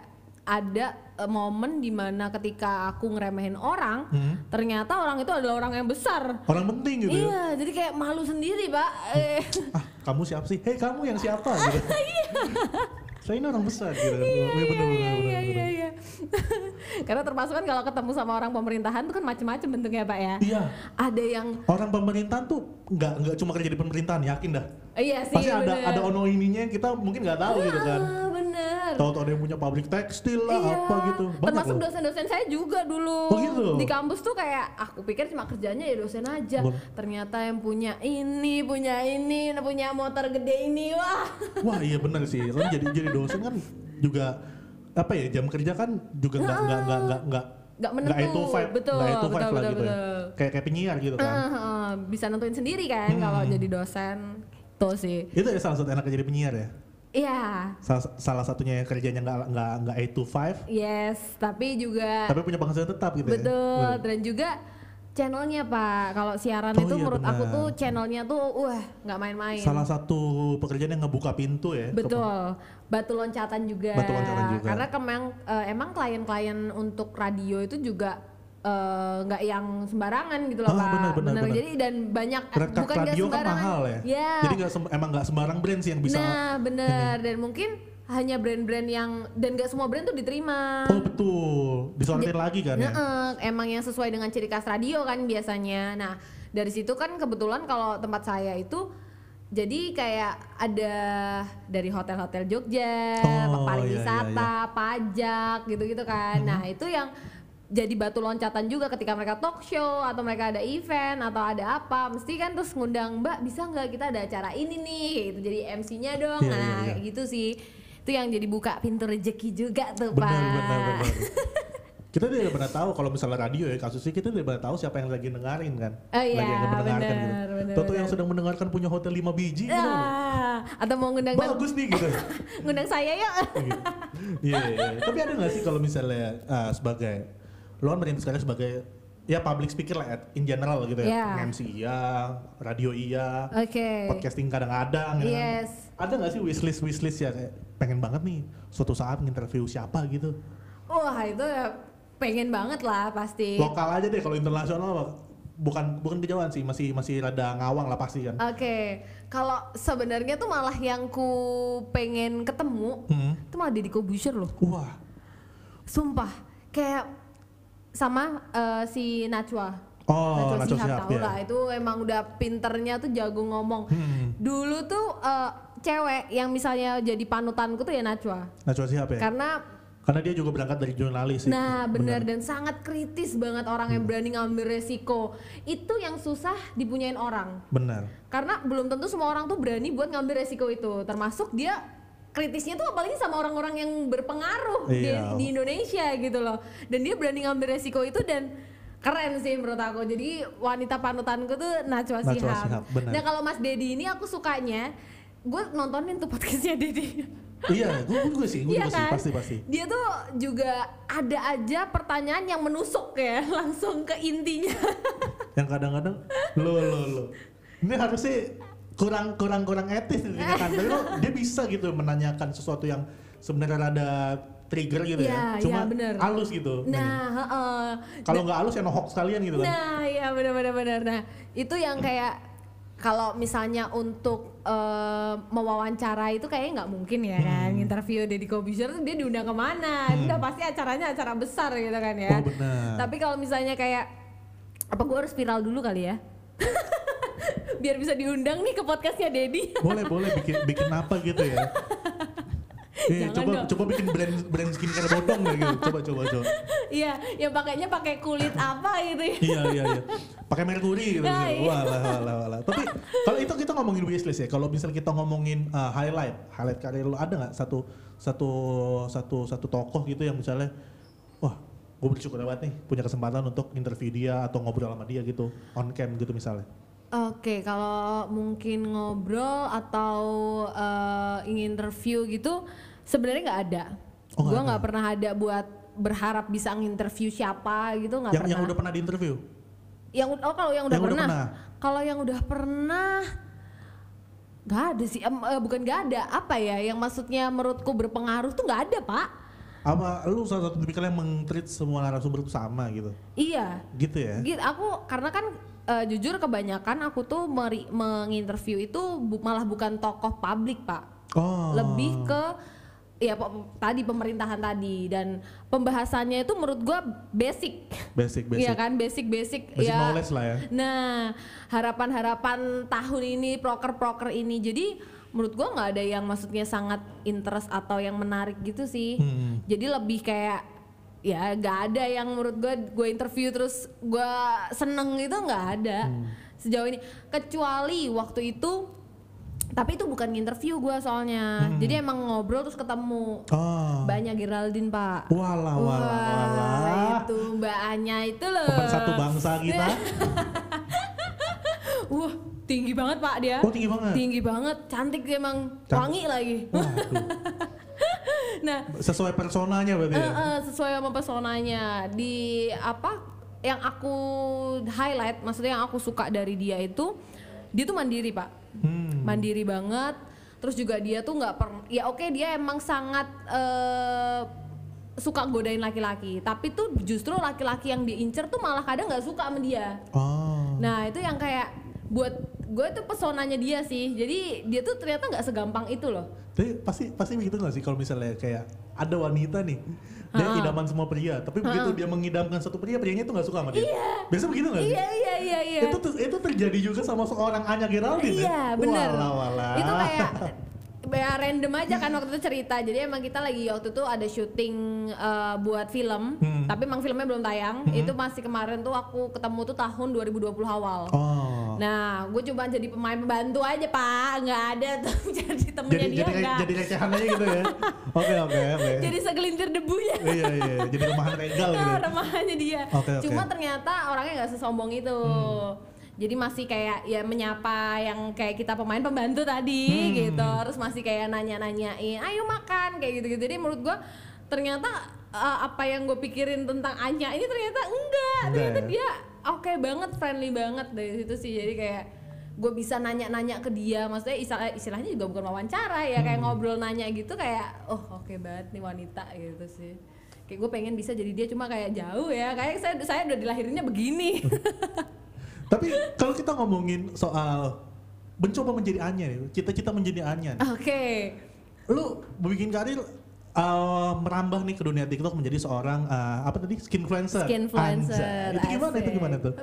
C: ada eh, momen dimana ketika aku ngeremehin orang,
B: Hmm.
C: ternyata orang itu adalah orang yang besar.
B: Orang penting gitu. ya.
C: Iya, jadi kayak malu sendiri, Pak. Eh,
B: ah kamu siapa sih? Hei kamu yang siapa? Gitu. Saya ini orang besar gitu. Iya, bener, bener,
C: iya,
B: bener,
C: iya,
B: bener.
C: iya, iya. Karena termasuk kan kalau ketemu sama orang pemerintahan tuh kan macem-macem bentuknya, Pak ya.
B: Iya.
C: Ada yang
B: Orang pemerintahan tuh nggak nggak cuma kerja di pemerintahan yakin dah.
C: Iya sih.
B: Pasti ada
C: bener.
B: ada ono ininya yang kita mungkin nggak tahu gitu kan.
C: Ah, bener.
B: Tahu-tahu ada yang punya pabrik tekstil lah
C: Iya.
B: apa gitu. Banyak
C: Termasuk
B: loh.
C: dosen-dosen saya juga dulu.
B: Oh, gitu?
C: Di kampus tuh kayak aku pikir cuma kerjanya ya dosen aja.
B: Boleh.
C: Ternyata yang punya ini, punya ini, punya motor gede ini, wah.
B: Wah iya bener sih. Kan jadi jadi dosen kan juga apa ya jam kerja kan juga nggak nggak nggak nggak nggak
C: Ah. Nggak
B: nggak
C: menentu.
B: itu vibe
C: Betul,
B: nggak itu vibe
C: betul,
B: lah gitu
C: betul,
B: ya.
C: betul.
B: kayak kayak penyiar gitu kan Hmm.
C: Ah, ah, bisa nentuin sendiri kan kalau jadi dosen. Tuh sih.
B: itu ya salah satu enaknya jadi penyiar ya
C: Iya.
B: salah, salah satunya yang kerjanya nggak nggak nggak eight to five
C: Yes, tapi juga
B: tapi punya penghasilan tetap gitu ya
C: Iya. Betul, dan juga channelnya pak. Kalau siaran
B: Oh
C: itu
B: iya,
C: menurut aku
B: benar.
C: tuh channelnya tuh wah nggak main-main.
B: salah satu pekerjaan yang ngebuka pintu ya ke
C: Betul, batu loncatan juga.
B: Batu loncatan juga.
C: Karena kemang, eh, emang klien-klien untuk radio itu juga eh, nggak yang sembarangan gitu
B: Ah,
C: loh pak.
B: benar, benar, benar.
C: Jadi dan banyak eh,
B: Rekam
C: bukan nggak
B: radio kan
C: sembarangan.
B: mahal ya.
C: Iya.
B: Jadi nggak sem- emang nggak sembarang brand sih yang bisa.
C: Nah bener dan mungkin hanya brand-brand yang dan nggak semua brand tuh diterima.
B: Oh betul, disortir
C: Iya.
B: lagi kan ya.
C: Nah, eh, emang yang sesuai dengan ciri khas radio kan biasanya. Nah, dari situ kan kebetulan kalau tempat saya itu jadi kayak ada dari hotel-hotel Jogja,
B: Oh, iya,
C: pariwisata,
B: Mm-hmm.
C: pajak gitu-gitu kan. Nah, itu yang jadi batu loncatan juga ketika mereka talk show atau mereka ada event atau ada apa mesti kan terus ngundang mbak bisa nggak kita ada acara ini nih gitu jadi MC-nya dong
B: Iya,
C: nah
B: iya, iya.
C: kayak gitu sih itu yang jadi buka pintu rezeki juga tuh
B: Benar,
C: pak
B: benar, benar. Kita tidak pernah tahu kalau misalnya radio ya kasusnya kita tidak pernah tahu siapa yang lagi dengerin kan.
C: Oh iya,
B: lagi yang mendengarkan
C: benar, benar,
B: gitu. Tentu yang
C: benar.
B: sedang mendengarkan punya hotel 5 biji gitu.
C: Ah, atau mau ngundang
B: Bagus nih gitu.
C: ngundang saya yuk.
B: Gitu. Iya, iya, iya. Tapi ada nggak sih kalau misalnya ah, sebagai lo kan merintis sekarang sebagai ya public speaker lah at- in general gitu ya.
C: Iya.
B: MC iya, radio iya,
C: Oke.
B: podcasting kadang-kadang gitu kan.
C: Yes.
B: Ada nggak sih wishlist wishlist ya kayak pengen banget nih suatu saat nginterview siapa gitu.
C: Wah itu ya pengen banget lah pasti. Oke.
B: lokal aja deh kalau internasional mah bukan bukan kejauhan sih masih masih rada ngawang lah pasti kan
C: Kalau sebenarnya tuh malah yang ku pengen ketemu
B: Hmm.
C: itu malah Deddy Kobusier loh.
B: wah
C: Sumpah kayak sama eh, si Najwa.
B: oh
C: Najwa
B: Nacho
C: Shihab,
B: Shihab
C: tau
B: ya
C: lah itu emang udah pinternya tuh jago ngomong.
B: Hmm.
C: Dulu tuh eh, cewek yang misalnya jadi panutanku tuh ya Najwa.
B: Nacho Shihab ya
C: Karena
B: karena dia juga berangkat dari jurnalis sih
C: Nah, benar dan sangat kritis banget orang yang berani ngambil resiko. Itu yang susah dipunyain orang.
B: benar
C: Karena belum tentu semua orang tuh berani buat ngambil resiko itu. Termasuk dia kritisnya tuh apalagi sama orang-orang yang berpengaruh di,
B: Iya.
C: di Indonesia gitu loh. Dan dia berani ngambil resiko itu dan keren sih menurut aku. Jadi wanita panutanku tuh
B: Najwa
C: Najwa Shihab.
B: Shihab, benar.
C: Nah, kalau Mas Dedi ini aku sukanya gue nontonin tuh podcastnya Dedi.
B: iya gue juga sih gue
C: Iya
B: juga sih
C: kan?
B: pasti pasti
C: Dia tuh juga ada aja pertanyaan yang menusuk ya, langsung ke intinya.
B: yang kadang-kadang lo lo lo ini harusnya kurang kurang kurang etis nih kan tapi lo dia bisa gitu menanyakan sesuatu yang sebenarnya rada trigger gitu
C: Iya,
B: ya cuma
C: iya, benar.
B: halus gitu
C: Nah, heeh.
B: kalau nggak halus ya nohok sekalian gitu kan
C: nah, ya benar-benar benar. Nah, itu yang kayak kalau misalnya untuk eh, mewawancara itu kayaknya nggak mungkin ya kan,
B: Hmm.
C: interview Deddy Kobusier tuh dia diundang kemana? Udah pasti acaranya acara besar gitu kan ya.
B: Oh, benar.
C: Tapi kalau misalnya kayak apa gue harus viral dulu kali ya? Biar bisa diundang nih ke podcastnya Dedi.
B: boleh boleh bikin bikin apa gitu ya Eh,
C: Jangan
B: coba
C: dong.
B: coba bikin brand brand skincare bodong deh gitu. Coba coba coba.
C: Iya, yang pakainya pakai kulit apa gitu ya.
B: Iya iya iya. Pakai merkuri gitu.
C: Nah, iya.
B: Wah lah wah lah wah lah. Tapi kalau itu kita ngomongin wishlist ya. Kalau misal kita ngomongin uh, highlight, highlight karir lu ada nggak satu satu satu satu tokoh gitu yang misalnya wah gue bersyukur banget nih punya kesempatan untuk interview dia atau ngobrol sama dia gitu on cam gitu misalnya.
C: Oke, kalau mungkin ngobrol atau eh, ingin interview gitu sebenarnya nggak ada.
B: Oh, nggak
C: Gua
B: ada.
C: nggak pernah ada buat berharap bisa nginterview siapa gitu nggak
B: Yang
C: pernah.
B: yang udah pernah diinterview.
C: Yang ud- oh kalau yang udah
B: Yang udah
C: pernah.
B: pernah.
C: Kalau yang udah pernah nggak ada sih. Em, eh, bukan nggak ada, apa ya? Yang maksudnya menurutku berpengaruh tuh nggak ada, Pak.
B: Apa lu salah satu tipikal yang meng-treat semua narasumber itu sama gitu?
C: Iya.
B: Gitu ya.
C: Gitu, aku karena kan eh, jujur kebanyakan aku tuh meri- menginterview itu bu- malah bukan tokoh publik pak,
B: Oh.
C: lebih ke ya po- tadi pemerintahan tadi dan pembahasannya itu menurut gua basic,
B: basic basic.
C: Iya kan basic basic,
B: Basic
C: ya.
B: knowledge lah ya.
C: Nah harapan harapan tahun ini proker proker ini jadi menurut gua nggak ada yang maksudnya sangat interest atau yang menarik gitu sih.
B: Hmm.
C: Jadi lebih kayak ya nggak ada yang menurut gue gue interview terus gue seneng itu nggak ada sejauh ini kecuali waktu itu tapi itu bukan interview gue soalnya jadi emang ngobrol terus ketemu
B: Oh.
C: banyak Geraldine pak
B: Walah, walah,
C: Wah, iya.
B: walah.
C: itu mbak Anya itu loh
B: Pemersatu bangsa kita.
C: Iya. wah Uh, tinggi banget pak dia
B: Oh, tinggi banget.
C: tinggi banget cantik dia emang
B: Cantik.
C: wangi lagi
B: Waduh,
C: nah
B: sesuai personanya berarti ya.
C: Eh, eh, sesuai sama pesonanya di apa yang aku highlight maksudnya yang aku suka dari dia itu dia tuh mandiri pak
B: Hmm.
C: mandiri banget terus juga dia tuh nggak per ya oke dia emang sangat eh, suka godain laki-laki tapi tuh justru laki-laki yang diincer tuh malah kadang nggak suka sama dia
B: Oh.
C: nah itu yang kayak buat gue tuh pesonanya dia sih jadi dia tuh ternyata nggak segampang itu loh
B: Tapi pasti pasti begitu nggak sih kalau misalnya kayak ada wanita nih dia
C: Ha-ha.
B: idaman semua pria, tapi begitu dia mengidamkan satu pria, prianya itu nggak suka sama dia. Biasa begitu nggak sih?
C: iya iya iya iya
B: Itu kan ter- itu terjadi juga sama seorang Anya Geraldine. ya?
C: Iya, benar.
B: Walah, walah.
C: Itu kayak ya random aja kan waktu itu cerita. Jadi emang kita lagi waktu itu ada syuting eh, buat film,
B: Hmm.
C: tapi emang filmnya belum tayang. Itu masih kemarin tuh aku ketemu tuh tahun 2020 awal.
B: Oh.
C: Nah, gue cuma jadi pemain pembantu aja pak, nggak ada tuh jadi temennya
B: jadi
C: dia
B: jadi kayak-
C: nggak.
B: jadi recehan aja gitu ya. Oke oke oke.
C: Jadi segelintir debunya.
B: Iya iya, jadi rumahan regal gitu.
C: Nah, remahannya dia.
B: Oke, Hmm. oke.
C: Cuma ternyata orangnya nggak sesombong itu. Jadi masih kayak ya menyapa yang kayak kita pemain pembantu
B: Hmm.
C: tadi gitu. Terus masih kayak nanya-nanyain, "Ayo makan." kayak gitu-gitu. Jadi menurut gua ternyata eh, apa yang gue pikirin tentang Anya ini ternyata enggak.
B: Enggak
C: Ternyata
B: ya?
C: dia oke banget, friendly banget dari situ sih. Jadi kayak gue bisa nanya-nanya ke dia, maksudnya istilah- istilahnya juga bukan wawancara ya,
B: Hmm.
C: kayak ngobrol nanya gitu kayak, oh oke banget nih wanita gitu sih kayak gue pengen bisa jadi dia cuma kayak jauh ya kayak saya saya udah dilahirinnya begini
B: Tapi kalau kita ngomongin soal mencoba menjadi Anya nih, cita-cita menjadi Anya. nih.
C: oke
B: Lu bikin karir eh, merambah nih ke dunia TikTok menjadi seorang eh, apa tadi skinfluencer. Anjay.
C: Skinfluencer,
B: Itu gimana itu
C: asik.
B: gimana tuh?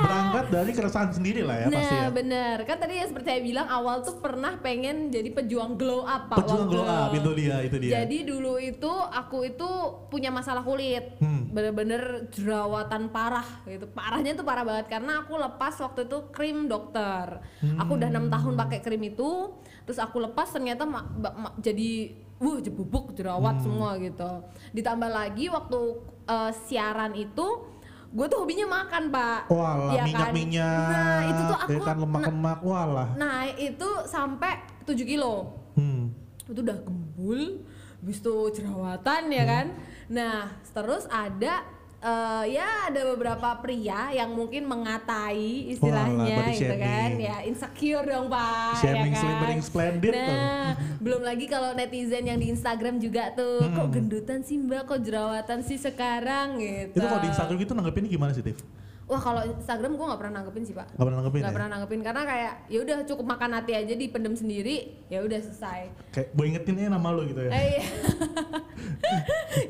B: Berangkat dari keresahan sendiri lah ya pasti ya.
C: nah bener kan tadi ya seperti saya bilang awal tuh pernah pengen jadi pejuang glow up pak
B: Pejuang
C: waktu-
B: glow up itu dia itu dia.
C: Nah, Jadi dulu itu aku itu punya masalah kulit,
B: Hmm.
C: bener-bener jerawatan parah gitu. Parahnya tuh parah banget karena aku lepas waktu itu krim dokter. Aku udah enam tahun
B: Hmm.
C: pakai krim itu, terus aku lepas ternyata ma- ba- ma- jadi wuh jebubuk
B: Hmm.
C: jerawat semua gitu. Ditambah lagi waktu eh, siaran itu gue tuh hobinya makan pak.
B: Walah
C: Ya kan?
B: minyak-minyak,
C: Nah itu tuh aku.
B: ya kan lemak-lemak, walah.
C: Nah itu sampai 7 kilo
B: Hmm.
C: itu udah gembul habis itu jerawatan ya kan nah terus ada eh, ya ada beberapa pria yang mungkin mengatai istilahnya
B: Walah, body
C: gitu kan
B: shaming.
C: ya insecure dong pak
B: Shaming,
C: ya kan?
B: slimming, splendid tuh.
C: nah belum lagi kalau netizen yang di Instagram juga tuh kok gendutan sih mbak kok jerawatan sih sekarang gitu
B: Itu kalau di Instagram gitu nanggepinnya gimana sih, Tiff?
C: wah kalau Instagram gua nggak pernah nanggepin sih pak
B: Gak pernah nanggepin
C: nggak
B: ya?
C: pernah nanggepin karena kayak ya udah cukup makan hati aja dipendem sendiri ya udah selesai
B: Kayak gue ingetin aja nama lo gitu ya?
C: Eh, iya.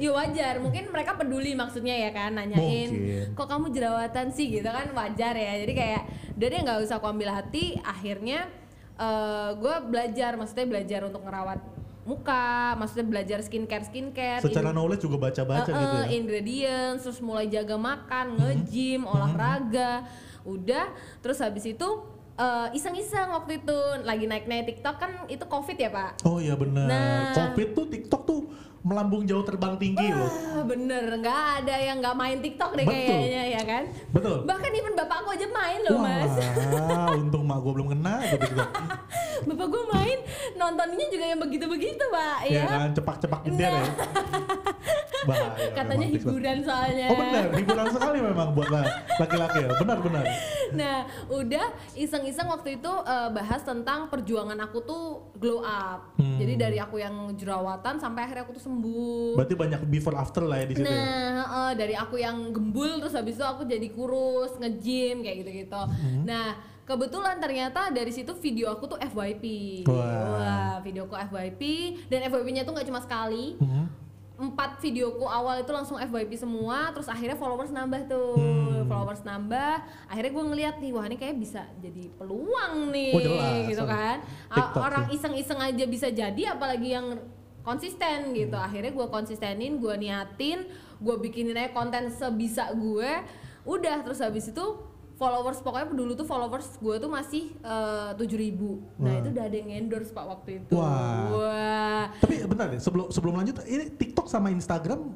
C: ya wajar, mungkin mereka peduli maksudnya ya kan nanyain
B: Mungkin.
C: kok kamu jerawatan sih gitu kan wajar ya. Jadi kayak udah deh nggak usah aku ambil hati, akhirnya gue belajar maksudnya belajar untuk ngerawat muka, maksudnya belajar skincare skincare
B: Secara knowledge juga
C: Eh,
B: baca-baca gitu ya? Mm-hmm.
C: ingredients terus mulai jaga makan nge-gym olahraga udah terus habis itu eh, iseng-iseng waktu itu lagi naik-naik TikTok kan itu covid ya pak
B: Oh iya benar.
C: Nah.
B: Covid tuh TikTok tuh melambung jauh terbang tinggi loh.
C: Ah, bener, nggak ada yang nggak main TikTok deh
B: Betul.
C: kayaknya ya kan?
B: Betul.
C: Bahkan even bapakku aja main loh mas.
B: Wah, untung mak gue belum kena gitu. gitu.
C: Bapak gue main, nontonnya juga yang begitu-begitu pak
B: ya
C: ya.
B: kan cepak-cepak jendela ya. Bahaya.
C: Katanya
B: memang TikTok.
C: hiburan ya. soalnya.
B: Oh benar, hiburan sekali memang buat la- laki-laki ya. Benar benar.
C: Nah, udah iseng-iseng waktu itu eh, bahas tentang perjuangan aku tuh glow up.
B: Hmm.
C: Jadi dari aku yang jerawatan sampai akhirnya aku tuh sembuh.
B: Berarti banyak before after lah ya di situ. ya.
C: Nah, heeh, dari aku yang gembul terus habis itu aku jadi kurus, nge-gym kayak gitu-gitu.
B: Mm-hmm.
C: Nah, kebetulan ternyata dari situ video aku tuh FYP.
B: Wah.
C: videoku FYP dan FYP-nya tuh nggak cuma sekali.
B: Hmm.
C: Empat videoku awal itu langsung FYP semua, terus akhirnya followers nambah tuh,
B: Hmm.
C: followers nambah. Akhirnya gue ngeliat nih, wah ini kayak bisa jadi peluang nih,
B: Oh, jelas.
C: gitu kan?
B: TikTok
C: Ah, orang
B: tuh.
C: iseng-iseng aja bisa jadi apalagi yang konsisten gitu
B: Hmm.
C: akhirnya gue konsistenin gue niatin gue bikinin aja konten sebisa gue udah terus habis itu followers pokoknya dulu tuh followers gue tuh masih eh, tujuh ribu nah
B: Wah.
C: itu udah ada yang endorse pak waktu itu
B: Wah.
C: Wah.
B: Tapi benar deh, sebelum sebelum lanjut ini TikTok sama Instagram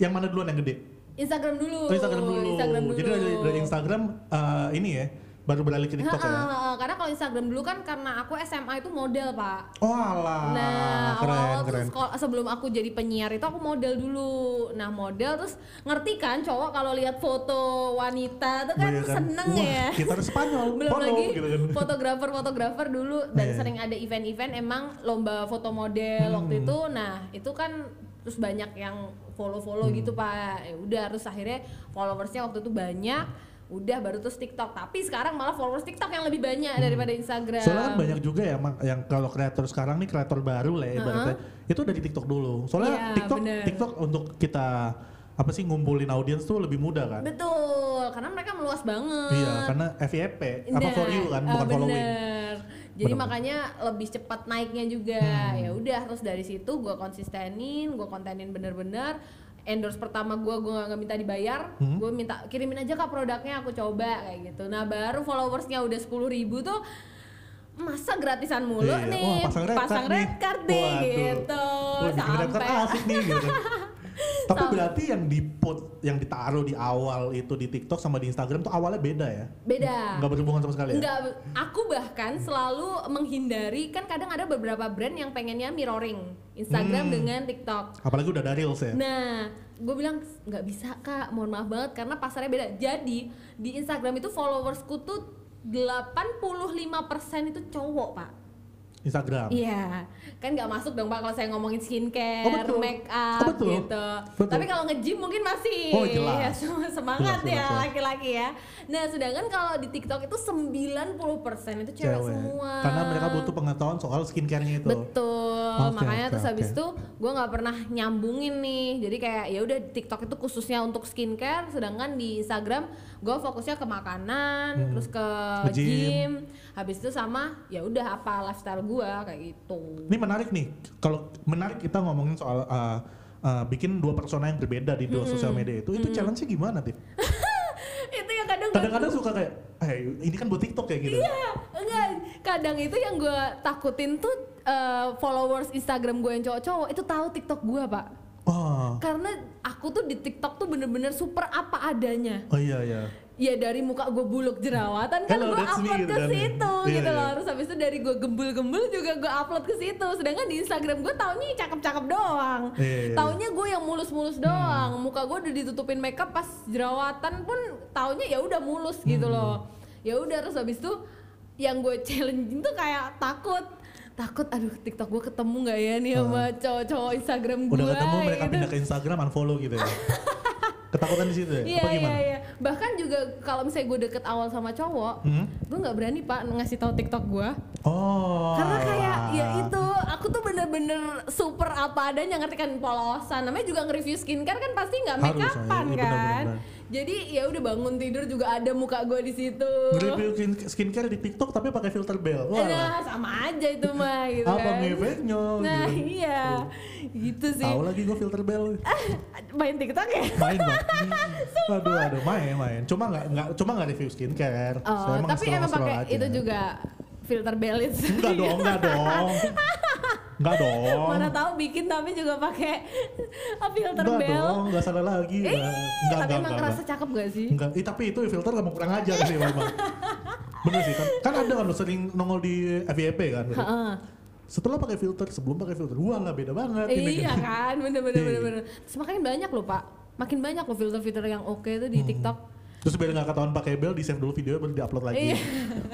B: yang mana duluan yang gede?
C: Instagram dulu
B: Oh, Instagram dulu.
C: Instagram dulu.
B: Jadi dari, dari Instagram eh, ini ya baru beralih ke TikTok
C: Ha-ha,
B: ya.
C: ha-ha. karena kalau Instagram dulu kan karena aku SMA itu model pak
B: Oh alah,
C: Nah,
B: keren
C: awal-awal tuh
B: keren.
C: sekol- sebelum aku jadi penyiar itu aku model dulu. Nah, model terus ngerti kan cowok kalau lihat foto wanita tuh kan
B: Bayangkan,
C: seneng
B: Iya, wah,
C: ya.
B: Kita harus Spanyol,
C: Belum
B: follow
C: lagi
B: gitu kan.
C: fotografer-fotografer dulu dan
B: Iya.
C: sering ada event-event emang lomba foto model waktu
B: Hmm.
C: itu. Nah, itu kan terus banyak yang
B: Hmm.
C: follow-follow gitu, Pak. Ya udah terus akhirnya followersnya waktu itu banyak. Udah baru terus TikTok. Tapi sekarang malah followers TikTok yang lebih banyak daripada Instagram.
B: Hmm. Soalnya kan banyak juga ya emang yang kalau kreator sekarang nih kreator baru lah ya ibaratnya. Itu dari TikTok dulu. Soalnya
C: Iya,
B: TikTok
C: bener.
B: TikTok untuk kita apa sih ngumpulin audiens tuh lebih mudah kan?
C: Betul, karena mereka meluas banget.
B: Iya, karena FYP apa
C: Nah,
B: for you kan
C: eh,
B: bukan following.
C: bener. Jadi
B: Bener-bener.
C: makanya lebih cepat
B: Hmm.
C: naiknya juga. Ya udah terus dari situ gua konsistenin, gua kontenin bener-bener endorse pertama gue gue nggak minta dibayar
B: Hmm.
C: gue minta kirimin aja kak produknya aku coba kayak gitu nah baru followersnya udah sepuluh ribu tuh masa gratisan mulu
B: Iya.
C: nih
B: Wah, pasang red card nih.
C: card nih,
B: Waduh.
C: gitu
B: Wah, bikin red card
C: sampai
B: asik nih gitu. Tapi
C: Sampai-
B: berarti yang di put, yang ditaruh di awal itu di TikTok sama di Instagram tuh awalnya beda ya?
C: beda
B: Nggak berhubungan sama sekali ya?
C: Enggak, aku bahkan selalu menghindari kan kadang ada beberapa brand yang pengennya mirroring
B: Hmm.
C: Instagram dengan TikTok.
B: Apalagi udah ada Reels ya?
C: Nah, gue bilang nggak bisa kak, mohon maaf banget karena pasarnya beda. Jadi di Instagram itu followersku tuh 85% itu cowok pak.
B: Instagram.
C: Iya, kan nggak masuk dong pak kalau saya ngomongin skincare,
B: Oh, betul.
C: make
B: Oh,
C: up
B: betul.
C: gitu.
B: Betul.
C: Tapi kalau nge-gym mungkin masih.
B: Oh, jelas.
C: Ya, semangat
B: Jelas, jelas,
C: ya
B: jelas.
C: laki-laki ya. Nah, sedangkan kalau di TikTok itu 90% itu cewek, semua.
B: Karena mereka butuh pengetahuan soal skincare-nya itu.
C: Betul,
B: Oke,
C: makanya
B: oke,
C: terus habis
B: oke.
C: itu gue nggak pernah nyambungin nih. Jadi kayak ya udah TikTok itu khususnya untuk skincare, sedangkan di Instagram gue fokusnya ke makanan, terus ke
B: Hmm. Ke
C: gym.
B: gym.
C: habis itu sama ya udah apa lifestyle gue kayak gitu.
B: Ini menarik nih. Kalau menarik kita ngomongin soal uh, uh, bikin dua persona yang berbeda di dua sosial media itu, itu challenge-nya gimana, Tip?
C: itu yang kadang gua-
B: Kadang-kadang suka kayak, eh ini kan buat TikTok kayak gitu.
C: Iya, enggak. Kadang itu yang gue takutin tuh eh, followers Instagram gue yang cowok-cowok itu tahu TikTok gue pak.
B: Oh,
C: Karena aku tuh di TikTok tuh bener-bener super apa adanya.
B: oh iya iya.
C: Ya dari muka gue buluk jerawatan kan
B: Hello,
C: gue
B: that's me,
C: upload
B: gitu
C: ke
B: kan.
C: situ
B: Iya,
C: gitu
B: iya.
C: loh. Terus habis itu dari gue gembul-gembul juga gue upload ke situ. Sedangkan di Instagram gue taunya yang cakep-cakep doang.
B: Iya, iya, Hmm. iya.
C: Taunya gue yang mulus-mulus doang. Muka gue udah ditutupin makeup pas jerawatan pun taunya ya udah mulus gitu
B: Hmm.
C: loh. Ya udah terus habis itu yang gue challenge tuh kayak takut takut aduh TikTok gue ketemu nggak ya nih sama cowok-cowok Instagram Ya gue
B: Udah ketemu mereka
C: gitu.
B: pindah ke Instagram unfollow gitu ya. Ketakutan di situ ya?
C: Iya
B: Apa
C: iya
B: gimana?
C: iya. Bahkan juga kalau misalnya gue deket awal sama cowok,
B: Hmm?
C: gue nggak berani pak ngasih tahu TikTok gue.
B: Oh.
C: Karena kayak ya
B: alah.
C: itu aku tuh bener-bener super apa adanya ngerti kan polosan. Namanya juga nge-review skincare kan pasti nggak make
B: Harus,
C: upan
B: iya, iya, benar,
C: kan.
B: benar, benar.
C: Jadi ya udah bangun tidur juga ada muka gue di situ.
B: Nge-review skin- skincare di TikTok tapi pakai filter bell. Wah.
C: Nah, sama aja itu mah gitu
B: apa
C: kan.
B: ngefeknya?
C: Nah
B: gitu.
C: iya, gitu sih.
B: Tahu lagi gue filter bell.
C: Main TikTok ya?
B: Main bang. aduh aduh main main. Cuma nggak nggak cuma nggak review skincare.
C: Oh,
B: Saya
C: tapi emang
B: scroll-scroll
C: pakai
B: aja.
C: itu juga filter belit.
B: Enggak dong, enggak dong. Enggak dong.
C: Mana tahu bikin tapi juga pakai filter
B: Enggak
C: bell.
B: dong, enggak salah lagi.
C: Ih,
B: Enggak, enggak,
C: tapi
B: enggak,
C: emang
B: enggak.
C: kerasa cakep gak sih?
B: Enggak, eh, tapi itu filter kamu kurang ajar sih memang. Bener sih kan, kan ada kan lo sering nongol di FYP kan. gitu.
C: Heeh.
B: Setelah pakai filter, sebelum pakai filter, wah lah beda banget. ini,
C: Iya
B: gitu.
C: kan, bener bener
B: Iya.
C: bener bener. Terus makin banyak loh pak, makin banyak loh filter-filter yang oke tuh
B: Hmm.
C: di TikTok.
B: Terus biar nggak ketahuan pakai bel, di save dulu videonya baru diupload lagi.
C: Iya.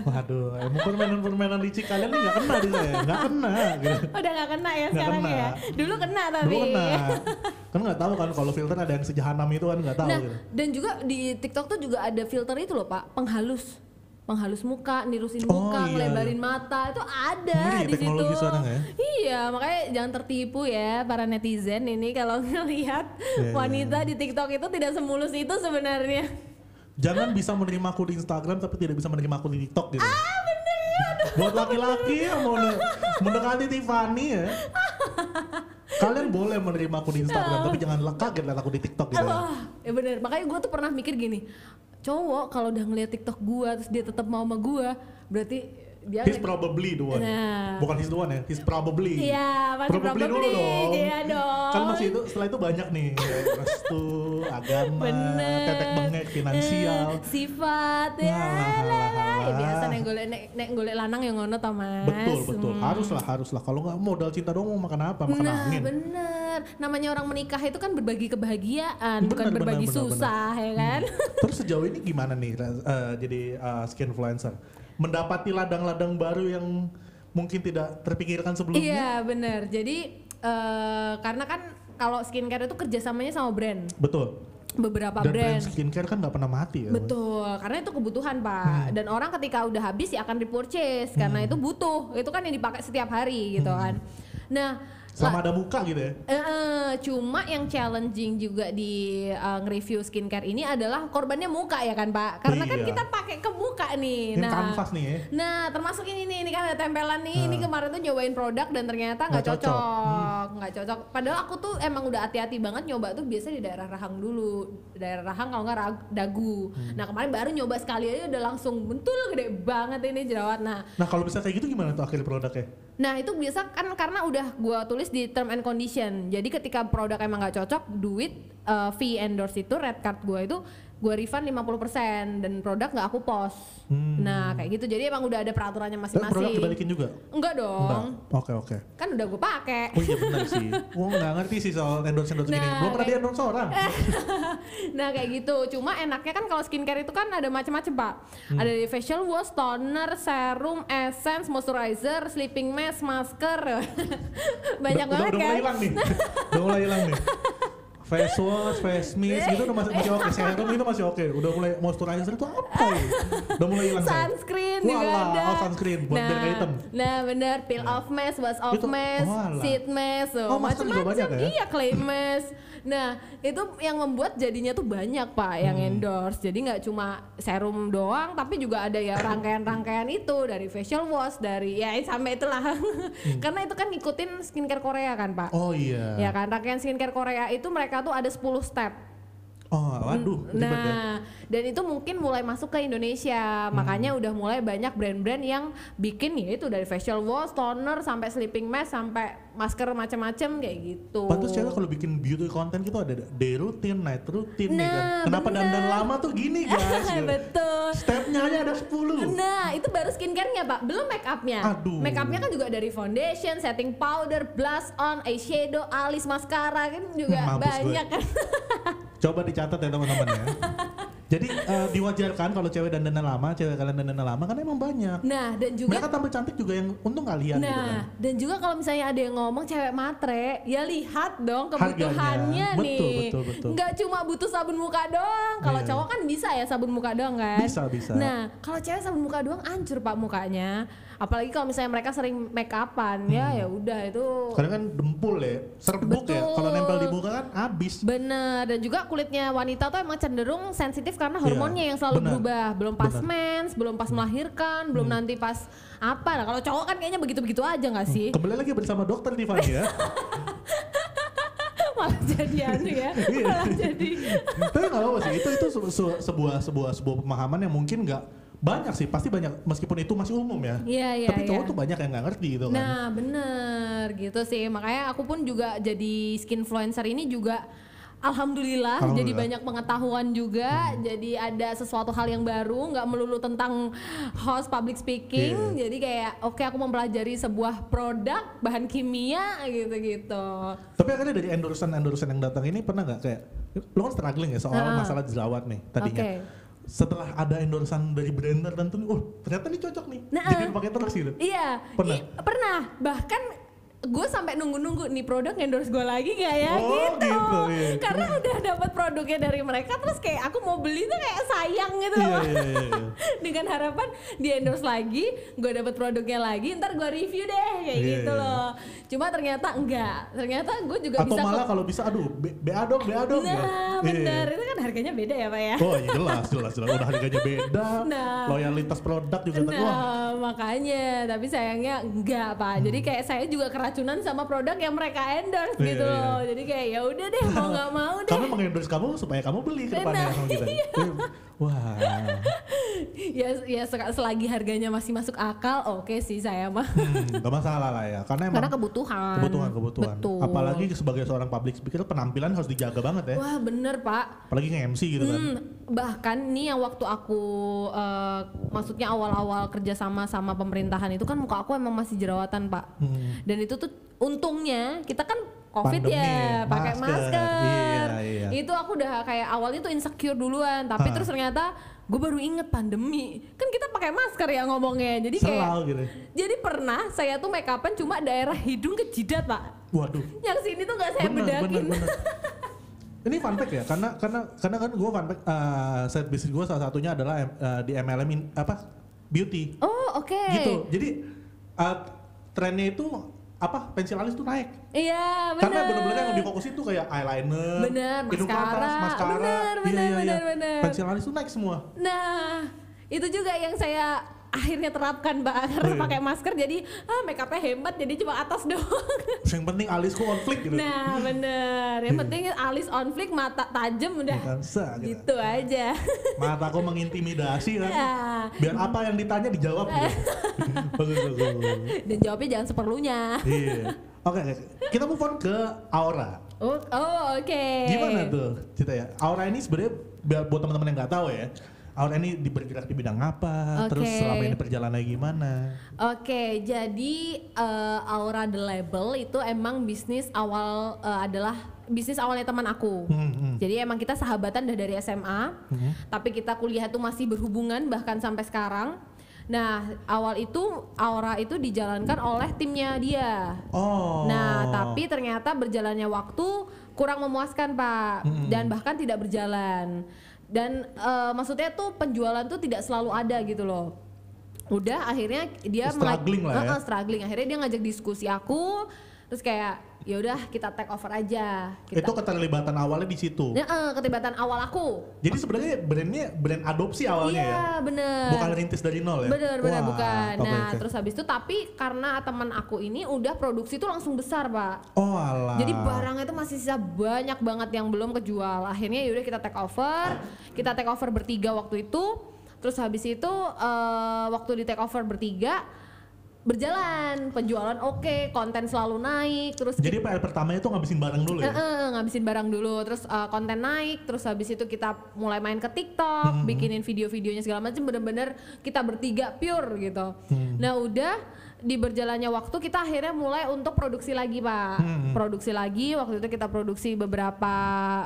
B: Waduh, emang permainan-permainan licik kalian nih nggak kena di saya, nggak kena. Gitu.
C: Udah gak kena ya
B: Nggak
C: sekarang
B: kena.
C: ya? Dulu kena tapi.
B: Belum kena. Kan nggak tahu kan kalau filter ada yang sejahanam itu kan nggak tahu.
C: Nah,
B: gitu.
C: dan juga di TikTok tuh juga ada filter itu loh pak, penghalus penghalus muka, nirusin
B: Oh,
C: muka,
B: iya,
C: ngelebarin mata itu ada
B: Ngeri ya
C: di situ.
B: teknologi sekarang ya.
C: Iya, makanya jangan tertipu ya para netizen ini kalau ngelihat
B: Iya,
C: wanita di TikTok itu tidak semulus itu sebenarnya.
B: Jangan bisa menerima aku di Instagram tapi tidak bisa menerima aku di TikTok gitu. Ah
C: ya,
B: bener. Buat laki-laki yang mau ne- mendekati Tiffany ya. Kalian boleh menerima aku di Instagram tapi jangan le- kaget lihat aku di TikTok gitu. ya.
C: Wah, ya bener. Makanya gue tuh pernah mikir gini, cowok kalau udah ngelihat TikTok gue terus dia tetap mau sama gue, berarti dia
B: He's probably the one.
C: Nah.
B: Bukan he's the one ya, he's probably.
C: Iya, masih
B: Probably dulu dong.
C: Iya dong.
B: Kan masih itu setelah itu banyak nih. Ya, Restu, agama,
C: Bener.
B: tetek bengek, finansial. Nah,
C: Eh, sifat ya
B: Ngalah,
C: lah lah.
B: ngalah.
C: Ya, biasa nek golek nek, nek golek lanang yang ngono ta Mas.
B: Betul, betul.
C: Hmm.
B: Haruslah, haruslah. Kalau nggak modal cinta dong mau makan apa? Makan
C: Nah,
B: angin.
C: bener. Namanya orang menikah itu kan berbagi kebahagiaan,
B: Bener,
C: bukan
B: bener, bener,
C: berbagi
B: Hmm.
C: susah ya kan.
B: Terus sejauh ini gimana nih eh, jadi eh, skinfluencer? Mendapati ladang-ladang baru yang mungkin tidak terpikirkan sebelumnya?
C: Iya, bener. Jadi eh, karena kan kalau skincare itu kerjasamanya sama brand,
B: Betul.
C: beberapa
B: Dan brand.
C: brand.
B: skincare kan nggak pernah mati ya.
C: Betul, karena itu kebutuhan
B: Hmm.
C: pak. Dan orang ketika udah habis ya akan repurchase karena itu butuh. Itu kan yang dipakai setiap hari gitu kan. Nah,
B: Hmm. Sama ada muka gitu ya.
C: Eh, eh, cuma yang challenging juga di eh, nge-review skincare ini adalah korbannya muka ya kan Pak? Karena kan
B: Iya.
C: kita pakai ke muka nih.
B: Ini kanvas nih ya.
C: Nah, termasuk ini nih, ini kan ada tempelan nih. Ini kemarin tuh nyobain produk dan ternyata nggak
B: Nggak cocok. Hmm.
C: cocok, nggak cocok. Padahal aku tuh emang udah hati-hati banget nyoba tuh biasa di daerah rahang dulu, daerah rahang kalau nggak rag- dagu.
B: Hmm.
C: Nah kemarin baru nyoba sekali aja udah langsung bentul gede banget ini jerawat. Nah,
B: Nah kalau bisa kayak gitu gimana tuh akhir produknya?
C: Nah itu biasa kan karena udah gua tulis di term and condition. Jadi ketika produk emang nggak cocok, duit eh, fee endorse itu red card gua itu gua refund 50% dan produk nggak aku post. Nah kayak gitu. Jadi emang udah ada peraturannya
B: Dan Hmm. Eh, produk
C: masing-masing.
B: dibalikin juga?
C: Enggak
B: Enggak.
C: dong.
B: Oke oke.
C: Kan udah gua pakai.
B: Oh iya benar sih. Gua nggak ngerti sih soal endorse endorse gini.
C: Nah,
B: Belum pernah
C: kayak-
B: di endorse orang.
C: nah kayak gitu cuma enaknya kan kalau skincare itu kan ada macam-macam pak
B: Hmm.
C: ada dari facial wash toner serum essence moisturizer sleeping mask masker banyak
B: udah, udah, udah
C: banget
B: mulai
C: kan
B: hilang nih. udah mulai hilang nih. Face wash, face mist gitu udah masih, masih oke. Serum itu masih oke. Udah mulai moisturizer itu apa ya? Udah mulai hilang. saya.
C: sunscreen
B: Walah,
C: juga ada.
B: oh, sunscreen buat biar nggak hitam.
C: Nah, bener peel off mask, wash off
B: Itu-
C: mask,
B: walah.
C: sheet mask, tuh,
B: Oh, masker juga
C: macam-macam.
B: banyak ya?
C: Iya, clay mask. Nah, itu yang membuat jadinya tuh banyak pak yang
B: Hmm.
C: endorse. Jadi nggak cuma serum doang, tapi juga ada ya rangkaian-rangkaian itu dari facial wash, dari ya sampai itulah. Karena itu kan ngikutin skincare Korea kan pak.
B: Hmm. Oh iya.
C: Ya kan, rangkaian skincare Korea itu mereka tuh ada 10 step.
B: Oh waduh. ribet ya.
C: Nah, dan itu mungkin mulai masuk ke Indonesia. Makanya
B: Hmm.
C: udah mulai banyak brand-brand yang bikin ya itu dari facial wash, toner sampai sleeping mask sampai masker macam-macam kayak gitu.
B: Pantes cewek kalau bikin beauty content gitu ada day routine, night routine ya kan.
C: Nah,
B: Kenapa
C: bener.
B: dandan lama tuh gini guys? gitu.
C: Betul.
B: Stepnya aja ada 10.
C: Nah, itu baru skincare-nya, Pak. Belum make up-nya.
B: Aduh.
C: Make up-nya kan juga dari foundation, setting powder, blush on, eyeshadow, alis, maskara kan juga
B: Hmm, mampus gue.
C: banyak kan.
B: Coba dicatat ya teman-teman ya. Jadi eh, diwajarkan kalau cewek dandan lama, cewek kalian dandan lama karena emang banyak.
C: Nah, dan juga
B: Mereka tampil cantik juga yang untung kalian gitu kan.
C: Nah, dan juga kalau misalnya ada yang ngomong cewek matre, ya lihat dong
B: Harganya.
C: kebutuhannya nih.
B: Betul, betul, betul.
C: Nggak cuma butuh sabun muka doang. Kalau
B: Iya.
C: cowok kan bisa ya sabun muka doang kan?
B: Bisa, bisa.
C: Nah, kalau cewek sabun muka doang ancur Pak mukanya. Apalagi kalau misalnya mereka sering make upan, ya
B: Hmm.
C: ya udah itu
B: Kadang kan dempul ya, serbuk ya. Kalau
C: Betul.
B: nempel di muka kan habis.
C: Bener, dan juga kulitnya wanita tuh emang cenderung sensitif karena
B: Iya,
C: hormonnya yang selalu
B: benar.
C: berubah Belum pas
B: Benar. Hmm.
C: mens, belum pas melahirkan, belum nanti pas apa Nah kalau cowok kan kayaknya begitu-begitu aja nggak sih?
B: Kembali lagi bersama dokter Tiffany ya.
C: malah jadi anu ya
B: Iya.
C: malah jadi
B: Tapi nggak apa-apa sih. Itu itu se- se- sebuah sebuah sebuah pemahaman yang mungkin nggak banyak sih. Pasti banyak meskipun itu masih umum ya.
C: iya iya
B: Tapi cowok
C: iya.
B: tuh banyak yang nggak ngerti gitu kan.
C: nah bener gitu sih makanya aku pun juga jadi skinfluencer ini juga Alhamdulillah, jadi
B: Alhamdulillah.
C: banyak pengetahuan juga. Jadi ada sesuatu hal yang baru, nggak melulu tentang host public speaking. Jadi kayak, oke aku mempelajari sebuah produk bahan kimia gitu-gitu.
B: Tapi akhirnya dari endorsean-endorsean yang datang ini pernah nggak kayak lo kan struggling ya soal
C: Ah.
B: masalah jerawat nih tadinya.
C: Oke.
B: Setelah ada endorsean dari brand tertentu, nih, oh ternyata ini cocok nih.
C: Nah,
B: Jadi
C: eh.
B: pakai terus gitu.
C: Iya,
B: Pernah?
C: i- pernah. Bahkan gue sampai nunggu-nunggu nih produk endorse gue lagi gak ya
B: Oh,
C: gitu.
B: gitu, iya.
C: Karena udah dapat produknya dari mereka terus kayak aku mau beli tuh kayak sayang gitu
B: Iya
C: loh.
B: iya iya. iya.
C: Dengan harapan di endorse lagi, gue dapat produknya lagi, ntar gue review deh kayak
B: Iya,
C: gitu
B: iya.
C: loh. Cuma ternyata enggak. Ternyata gue juga
B: Atau
C: bisa ke-
B: malah kalau bisa aduh B- BA dong BA dong. gitu.
C: Nah,
B: Iya.
C: benar. Itu kan harganya beda ya, Pak ya.
B: Oh iya jelas jelas jelas udah harganya beda.
C: Nah.
B: Loyalitas produk juga ter- wah.
C: Nah, makanya tapi sayangnya enggak pak
B: Hmm.
C: jadi kayak saya juga keracunan sama produk yang mereka endorse
B: Iya,
C: gitu
B: iya.
C: loh jadi kayak ya udah Iya. deh mau nggak mau deh
B: Kami mengendorse kamu supaya kamu beli ke depannya
C: Benar,
B: sama kita. Eh, Wah.
C: ya ya se- selagi harganya masih masuk akal oke sih saya mah
B: Hmm, gak masalah lah ya. Karena emang
C: karena kebutuhan
B: kebutuhan kebutuhan.
C: Betul.
B: Apalagi sebagai seorang public speaker penampilan harus dijaga banget ya.
C: wah bener pak
B: apalagi nge-MC gitu kan.
C: Hmm, bahkan nih yang waktu aku eh, maksudnya awal-awal kerjasama sama pemerintahan itu kan muka aku emang masih jerawatan pak dan itu tuh untungnya kita kan covid
B: Hmm. Pandemi,
C: ya pakai
B: masker.
C: masker,
B: Iya, iya.
C: itu aku udah kayak awalnya tuh insecure duluan tapi
B: Ah.
C: terus ternyata gue baru inget pandemi kan kita pakai masker ya ngomongnya jadi kayak
B: Selau gitu.
C: jadi pernah saya tuh make upan cuma daerah hidung ke jidat pak
B: Waduh.
C: yang sini tuh nggak saya bedakin
B: Ini fun fact ya, karena karena karena kan gue fun fact, eh, side bisnis gue salah satunya adalah em- eh, di MLM in- apa beauty
C: oh oke
B: gitu. Jadi eh, trennya itu apa pensil alis tuh naik.
C: Iya, benar.
B: Karena bener-bener kan yang difokusin tuh kayak eyeliner,
C: Bener,
B: hidung
C: maskara.
B: atas, maskara.
C: Bener,
B: Iya,
C: bener,
B: iya, iya.
C: bener, bener.
B: Pensil alis tuh naik semua.
C: Nah, itu juga yang saya akhirnya terapkan mbak karena
B: Iya.
C: pakai masker jadi ah make upnya hemat jadi cuma atas doang
B: Yang penting alisku konflik gitu.
C: nah bener yang penting alis on flick mata tajam
B: Ya
C: udah
B: kan, sah, gitu.
C: gitu aja
B: Mataku mengintimidasi kan.
C: Ya.
B: Biar apa yang ditanya dijawab gitu. bagus, bagus. bagus.
C: dan jawabnya jangan seperlunya
B: Iya. Oke, oke. kita move on ke Aura.
C: oh, oh, oke
B: Gimana tuh cerita ya? Aura ini sebenarnya biar- buat teman-teman yang nggak tahu ya. Aura ini di- bergerak di bidang apa?
C: Oke.
B: Terus selama ini perjalanannya gimana?
C: Oke, jadi eh, Aura the Label itu emang bisnis awal eh, adalah bisnis awalnya teman aku.
B: Hmm, hmm.
C: Jadi emang kita sahabatan udah dari SMA, tapi kita kuliah tuh masih berhubungan bahkan sampai sekarang. Nah, awal itu Aura itu dijalankan oleh timnya dia.
B: Oh.
C: Nah, tapi ternyata berjalannya waktu kurang memuaskan, Pak, dan bahkan tidak berjalan. Dan eh, maksudnya tuh penjualan tuh tidak selalu ada gitu loh. Udah akhirnya dia mengaj-
B: Struggling lah ya.
C: Heeh, struggling. Akhirnya dia ngajak diskusi aku, terus kayak ya udah kita take over aja. Kita Ya.
B: itu keterlibatan awalnya di situ.
C: Heeh, ketibatan awal aku.
B: Jadi sebenarnya brandnya brand adopsi awalnya
C: Iya, bener.
B: ya. Bukan rintis dari nol ya.
C: Bener bener
B: Wah,
C: bukan.
B: oke,
C: Nah
B: oke.
C: terus habis itu tapi karena teman aku ini udah produksi tuh langsung besar pak.
B: Oh alah.
C: Jadi barangnya itu masih sisa banyak banget yang belum kejual. Akhirnya yaudah kita take over, kita take over bertiga waktu itu. Terus habis itu eh, waktu di take over bertiga berjalan, penjualan oke, konten selalu naik, terus
B: Jadi PR pertamanya tuh ngabisin barang dulu ya.
C: Eh, eh, ngabisin barang dulu, terus eh, konten naik, terus habis itu kita mulai main ke
B: Hmm.
C: TikTok, bikinin video-videonya segala macam, bener-bener kita bertiga pure gitu.
B: Hmm.
C: Nah udah di berjalannya waktu kita akhirnya mulai untuk produksi lagi pak,
B: Hmm.
C: produksi lagi waktu itu kita produksi beberapa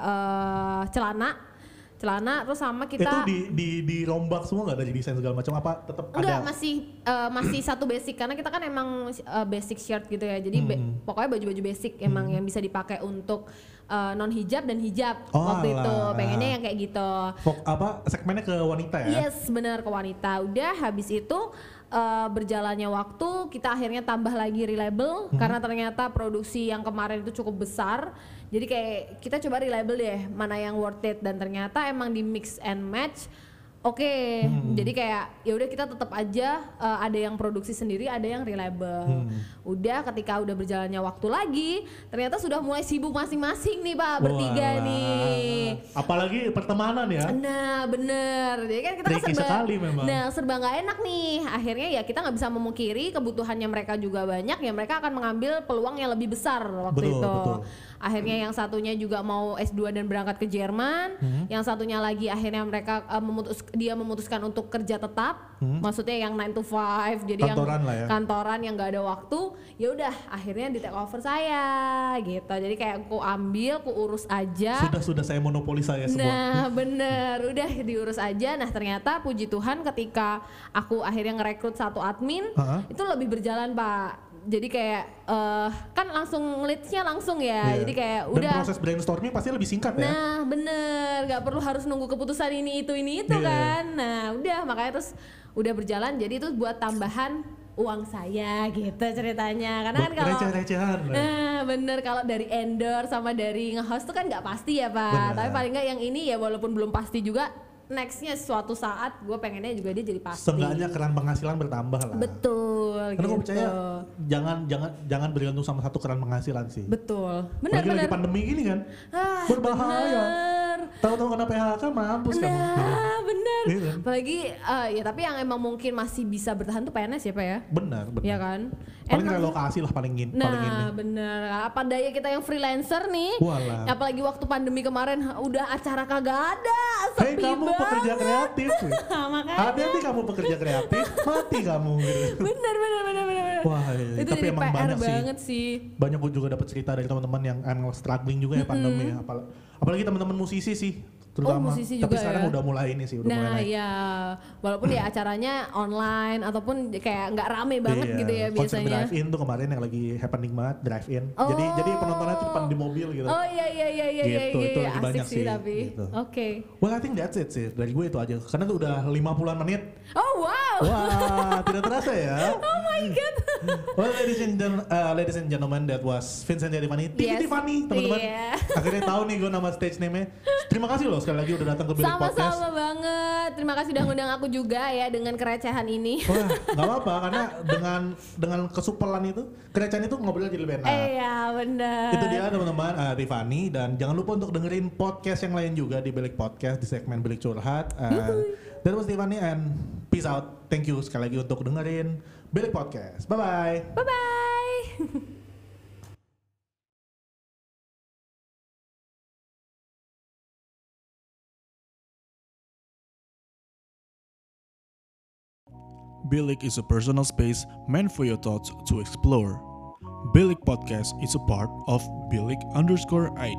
C: eh, celana, celana, terus sama
B: itu
C: kita
B: di di dirombak semua nggak dari desain segala macam apa tetap ada
C: Enggak, masih eh, masih satu basic karena kita kan emang eh, basic shirt gitu ya. Jadi be-
B: Hmm.
C: pokoknya baju-baju basic emang yang bisa dipakai untuk eh, non hijab dan hijab
B: Oh,
C: waktu itu.
B: alah.
C: Pengennya yang kayak gitu.
B: Fok- apa segmennya ke wanita ya?
C: Yes, benar ke wanita. Udah habis itu eh, berjalannya waktu kita akhirnya tambah lagi reliable
B: Mhm.
C: karena ternyata produksi yang kemarin itu cukup besar. Jadi kayak kita coba reliable deh mana yang worth it dan ternyata emang di mix and match. Oke,
B: Mhm.
C: jadi kayak ya udah kita tetap aja eh, ada yang produksi sendiri, ada yang reliable.
B: Mhm.
C: Udah ketika udah berjalannya waktu lagi, ternyata sudah mulai sibuk masing-masing nih, Pak, bertiga
B: Walah.
C: nih.
B: Apalagi pertemanan ya.
C: Nah bener, jadi kan kita kan
B: Tricky
C: serba,
B: sekali memang.
C: nah serba nggak enak nih. Akhirnya ya kita nggak bisa memungkiri kebutuhannya mereka juga banyak. Ya mereka akan mengambil peluang yang lebih besar waktu
B: Betul,
C: itu.
B: betul.
C: Akhirnya yang satunya juga mau S2 dan berangkat ke Jerman.
B: Hmm.
C: Yang satunya lagi akhirnya mereka eh, memutus dia memutuskan untuk kerja tetap. Maksudnya yang 9 to 5 jadi
B: Hmm. Kantoran
C: yang
B: lah ya.
C: kantoran yang nggak ada waktu. Ya udah akhirnya di take over saya gitu. Jadi kayak aku ambil, aku urus aja.
B: Sudah sudah saya monopoli saya semua. Hmm.
C: Nah bener, udah diurus aja. Nah ternyata puji Tuhan ketika aku akhirnya ngerekrut satu admin,
B: Heeh.
C: itu lebih berjalan pak. Jadi kayak eh kan langsung leadsnya langsung ya.
B: Iya.
C: Jadi kayak
B: Dan
C: udah.
B: proses brainstorming pasti lebih singkat ya.
C: Nah bener, nggak perlu harus nunggu keputusan ini itu ini itu
B: Iya.
C: kan. Nah udah makanya terus udah berjalan. Jadi itu buat tambahan uang saya gitu ceritanya. Karena kan
B: Buat
C: kalau
B: receh-recehan. ya.
C: Nah bener kalau dari endorse sama dari nge-host tuh kan nggak pasti ya
B: Bener.
C: pak. Tapi paling nggak yang ini ya walaupun belum pasti juga nextnya suatu saat gue pengennya juga dia jadi pasti.
B: Nah, Seenggaknya keran penghasilan bertambah lah.
C: Betul.
B: Karena gue
C: gitu.
B: percaya jangan jangan jangan bergantung sama satu keran penghasilan sih.
C: Betul. Bener
B: Apalagi
C: bener.
B: lagi pandemi gini kan.
C: Ah,
B: Berbahaya.
C: bener.
B: Tahu-tahu kena PHK mampus kamu.
C: Nah bener.
B: Iya kan?
C: Apalagi eh, ya tapi yang emang mungkin masih bisa bertahan tuh PNS ya pak ya.
B: Benar, benar.
C: Iya kan.
B: Paling
C: Emang-
B: relokasi lah paling gini, paling ini.
C: Nah, bener. Apa daya kita yang freelancer nih?
B: Walah.
C: Apalagi waktu pandemi kemarin ha, udah acara kagak ada,
B: Hei
C: sepi
B: kamu
C: banget.
B: pekerja kreatif.
C: Makanya.
B: Hati-hati kamu pekerja kreatif, mati kamu. gitu.
C: Bener, bener, bener, bener. bener.
B: Wah, iya.
C: itu
B: Tapi
C: jadi
B: emang
C: PR
B: banyak sih.
C: banget sih.
B: Banyak gue juga dapat cerita dari teman-teman yang emang struggling juga ya pandemi. ya. Apal- Apalagi teman-teman musisi sih, terutama.
C: Oh, musisi
B: Tapi
C: juga
B: sekarang
C: ya.
B: udah mulai ini sih, udah mulai
C: Nah,
B: naik.
C: ya walaupun ya acaranya online ataupun kayak nggak rame banget
B: Iya,
C: gitu ya
B: konsep
C: biasanya.
B: drive in tuh kemarin yang lagi happening banget drive in. Jadi
C: Oh.
B: jadi penontonnya tuh depan di mobil gitu.
C: Oh iya iya iya iya iya
B: Gitu,
C: iya,
B: itu
C: iya.
B: lagi
C: asik
B: banyak
C: sih
B: sih,
C: tapi.
B: gitu.
C: Oke.
B: Well I think that's it sih dari gue itu aja. Karena tuh udah 50-an menit.
C: Oh wow.
B: Wah, tidak terasa ya.
C: Oh my god.
B: Well, ladies and, gen- uh, ladies and gentlemen, that was Vincent Divani. Tiffany
C: Yes.
B: Tiffany, teman-teman.
C: Iya.
B: Akhirnya tahu nih gue nama stage name-nya. Terima kasih loh sekali lagi udah datang ke Bilik Podcast.
C: Sama-sama banget. Terima kasih udah ngundang aku juga ya dengan kerecehan ini.
B: Wah, nggak apa-apa karena dengan dengan kesupelan itu, kerjaan itu ngobrolnya jadi lebih enak.
C: Eh ya bener.
B: Itu dia teman-teman uh, Rifani dan jangan lupa untuk dengerin podcast yang lain juga di Bilik Podcast di segmen Bilik Curhat. Uh, that was Rifani and peace out. Thank you sekali lagi untuk dengerin Bilik Podcast. Bye-bye.
C: Bye-bye.
A: Bilik is a personal space meant for your thoughts to explore. Bilik Podcast is a part of Bilik underscore ID.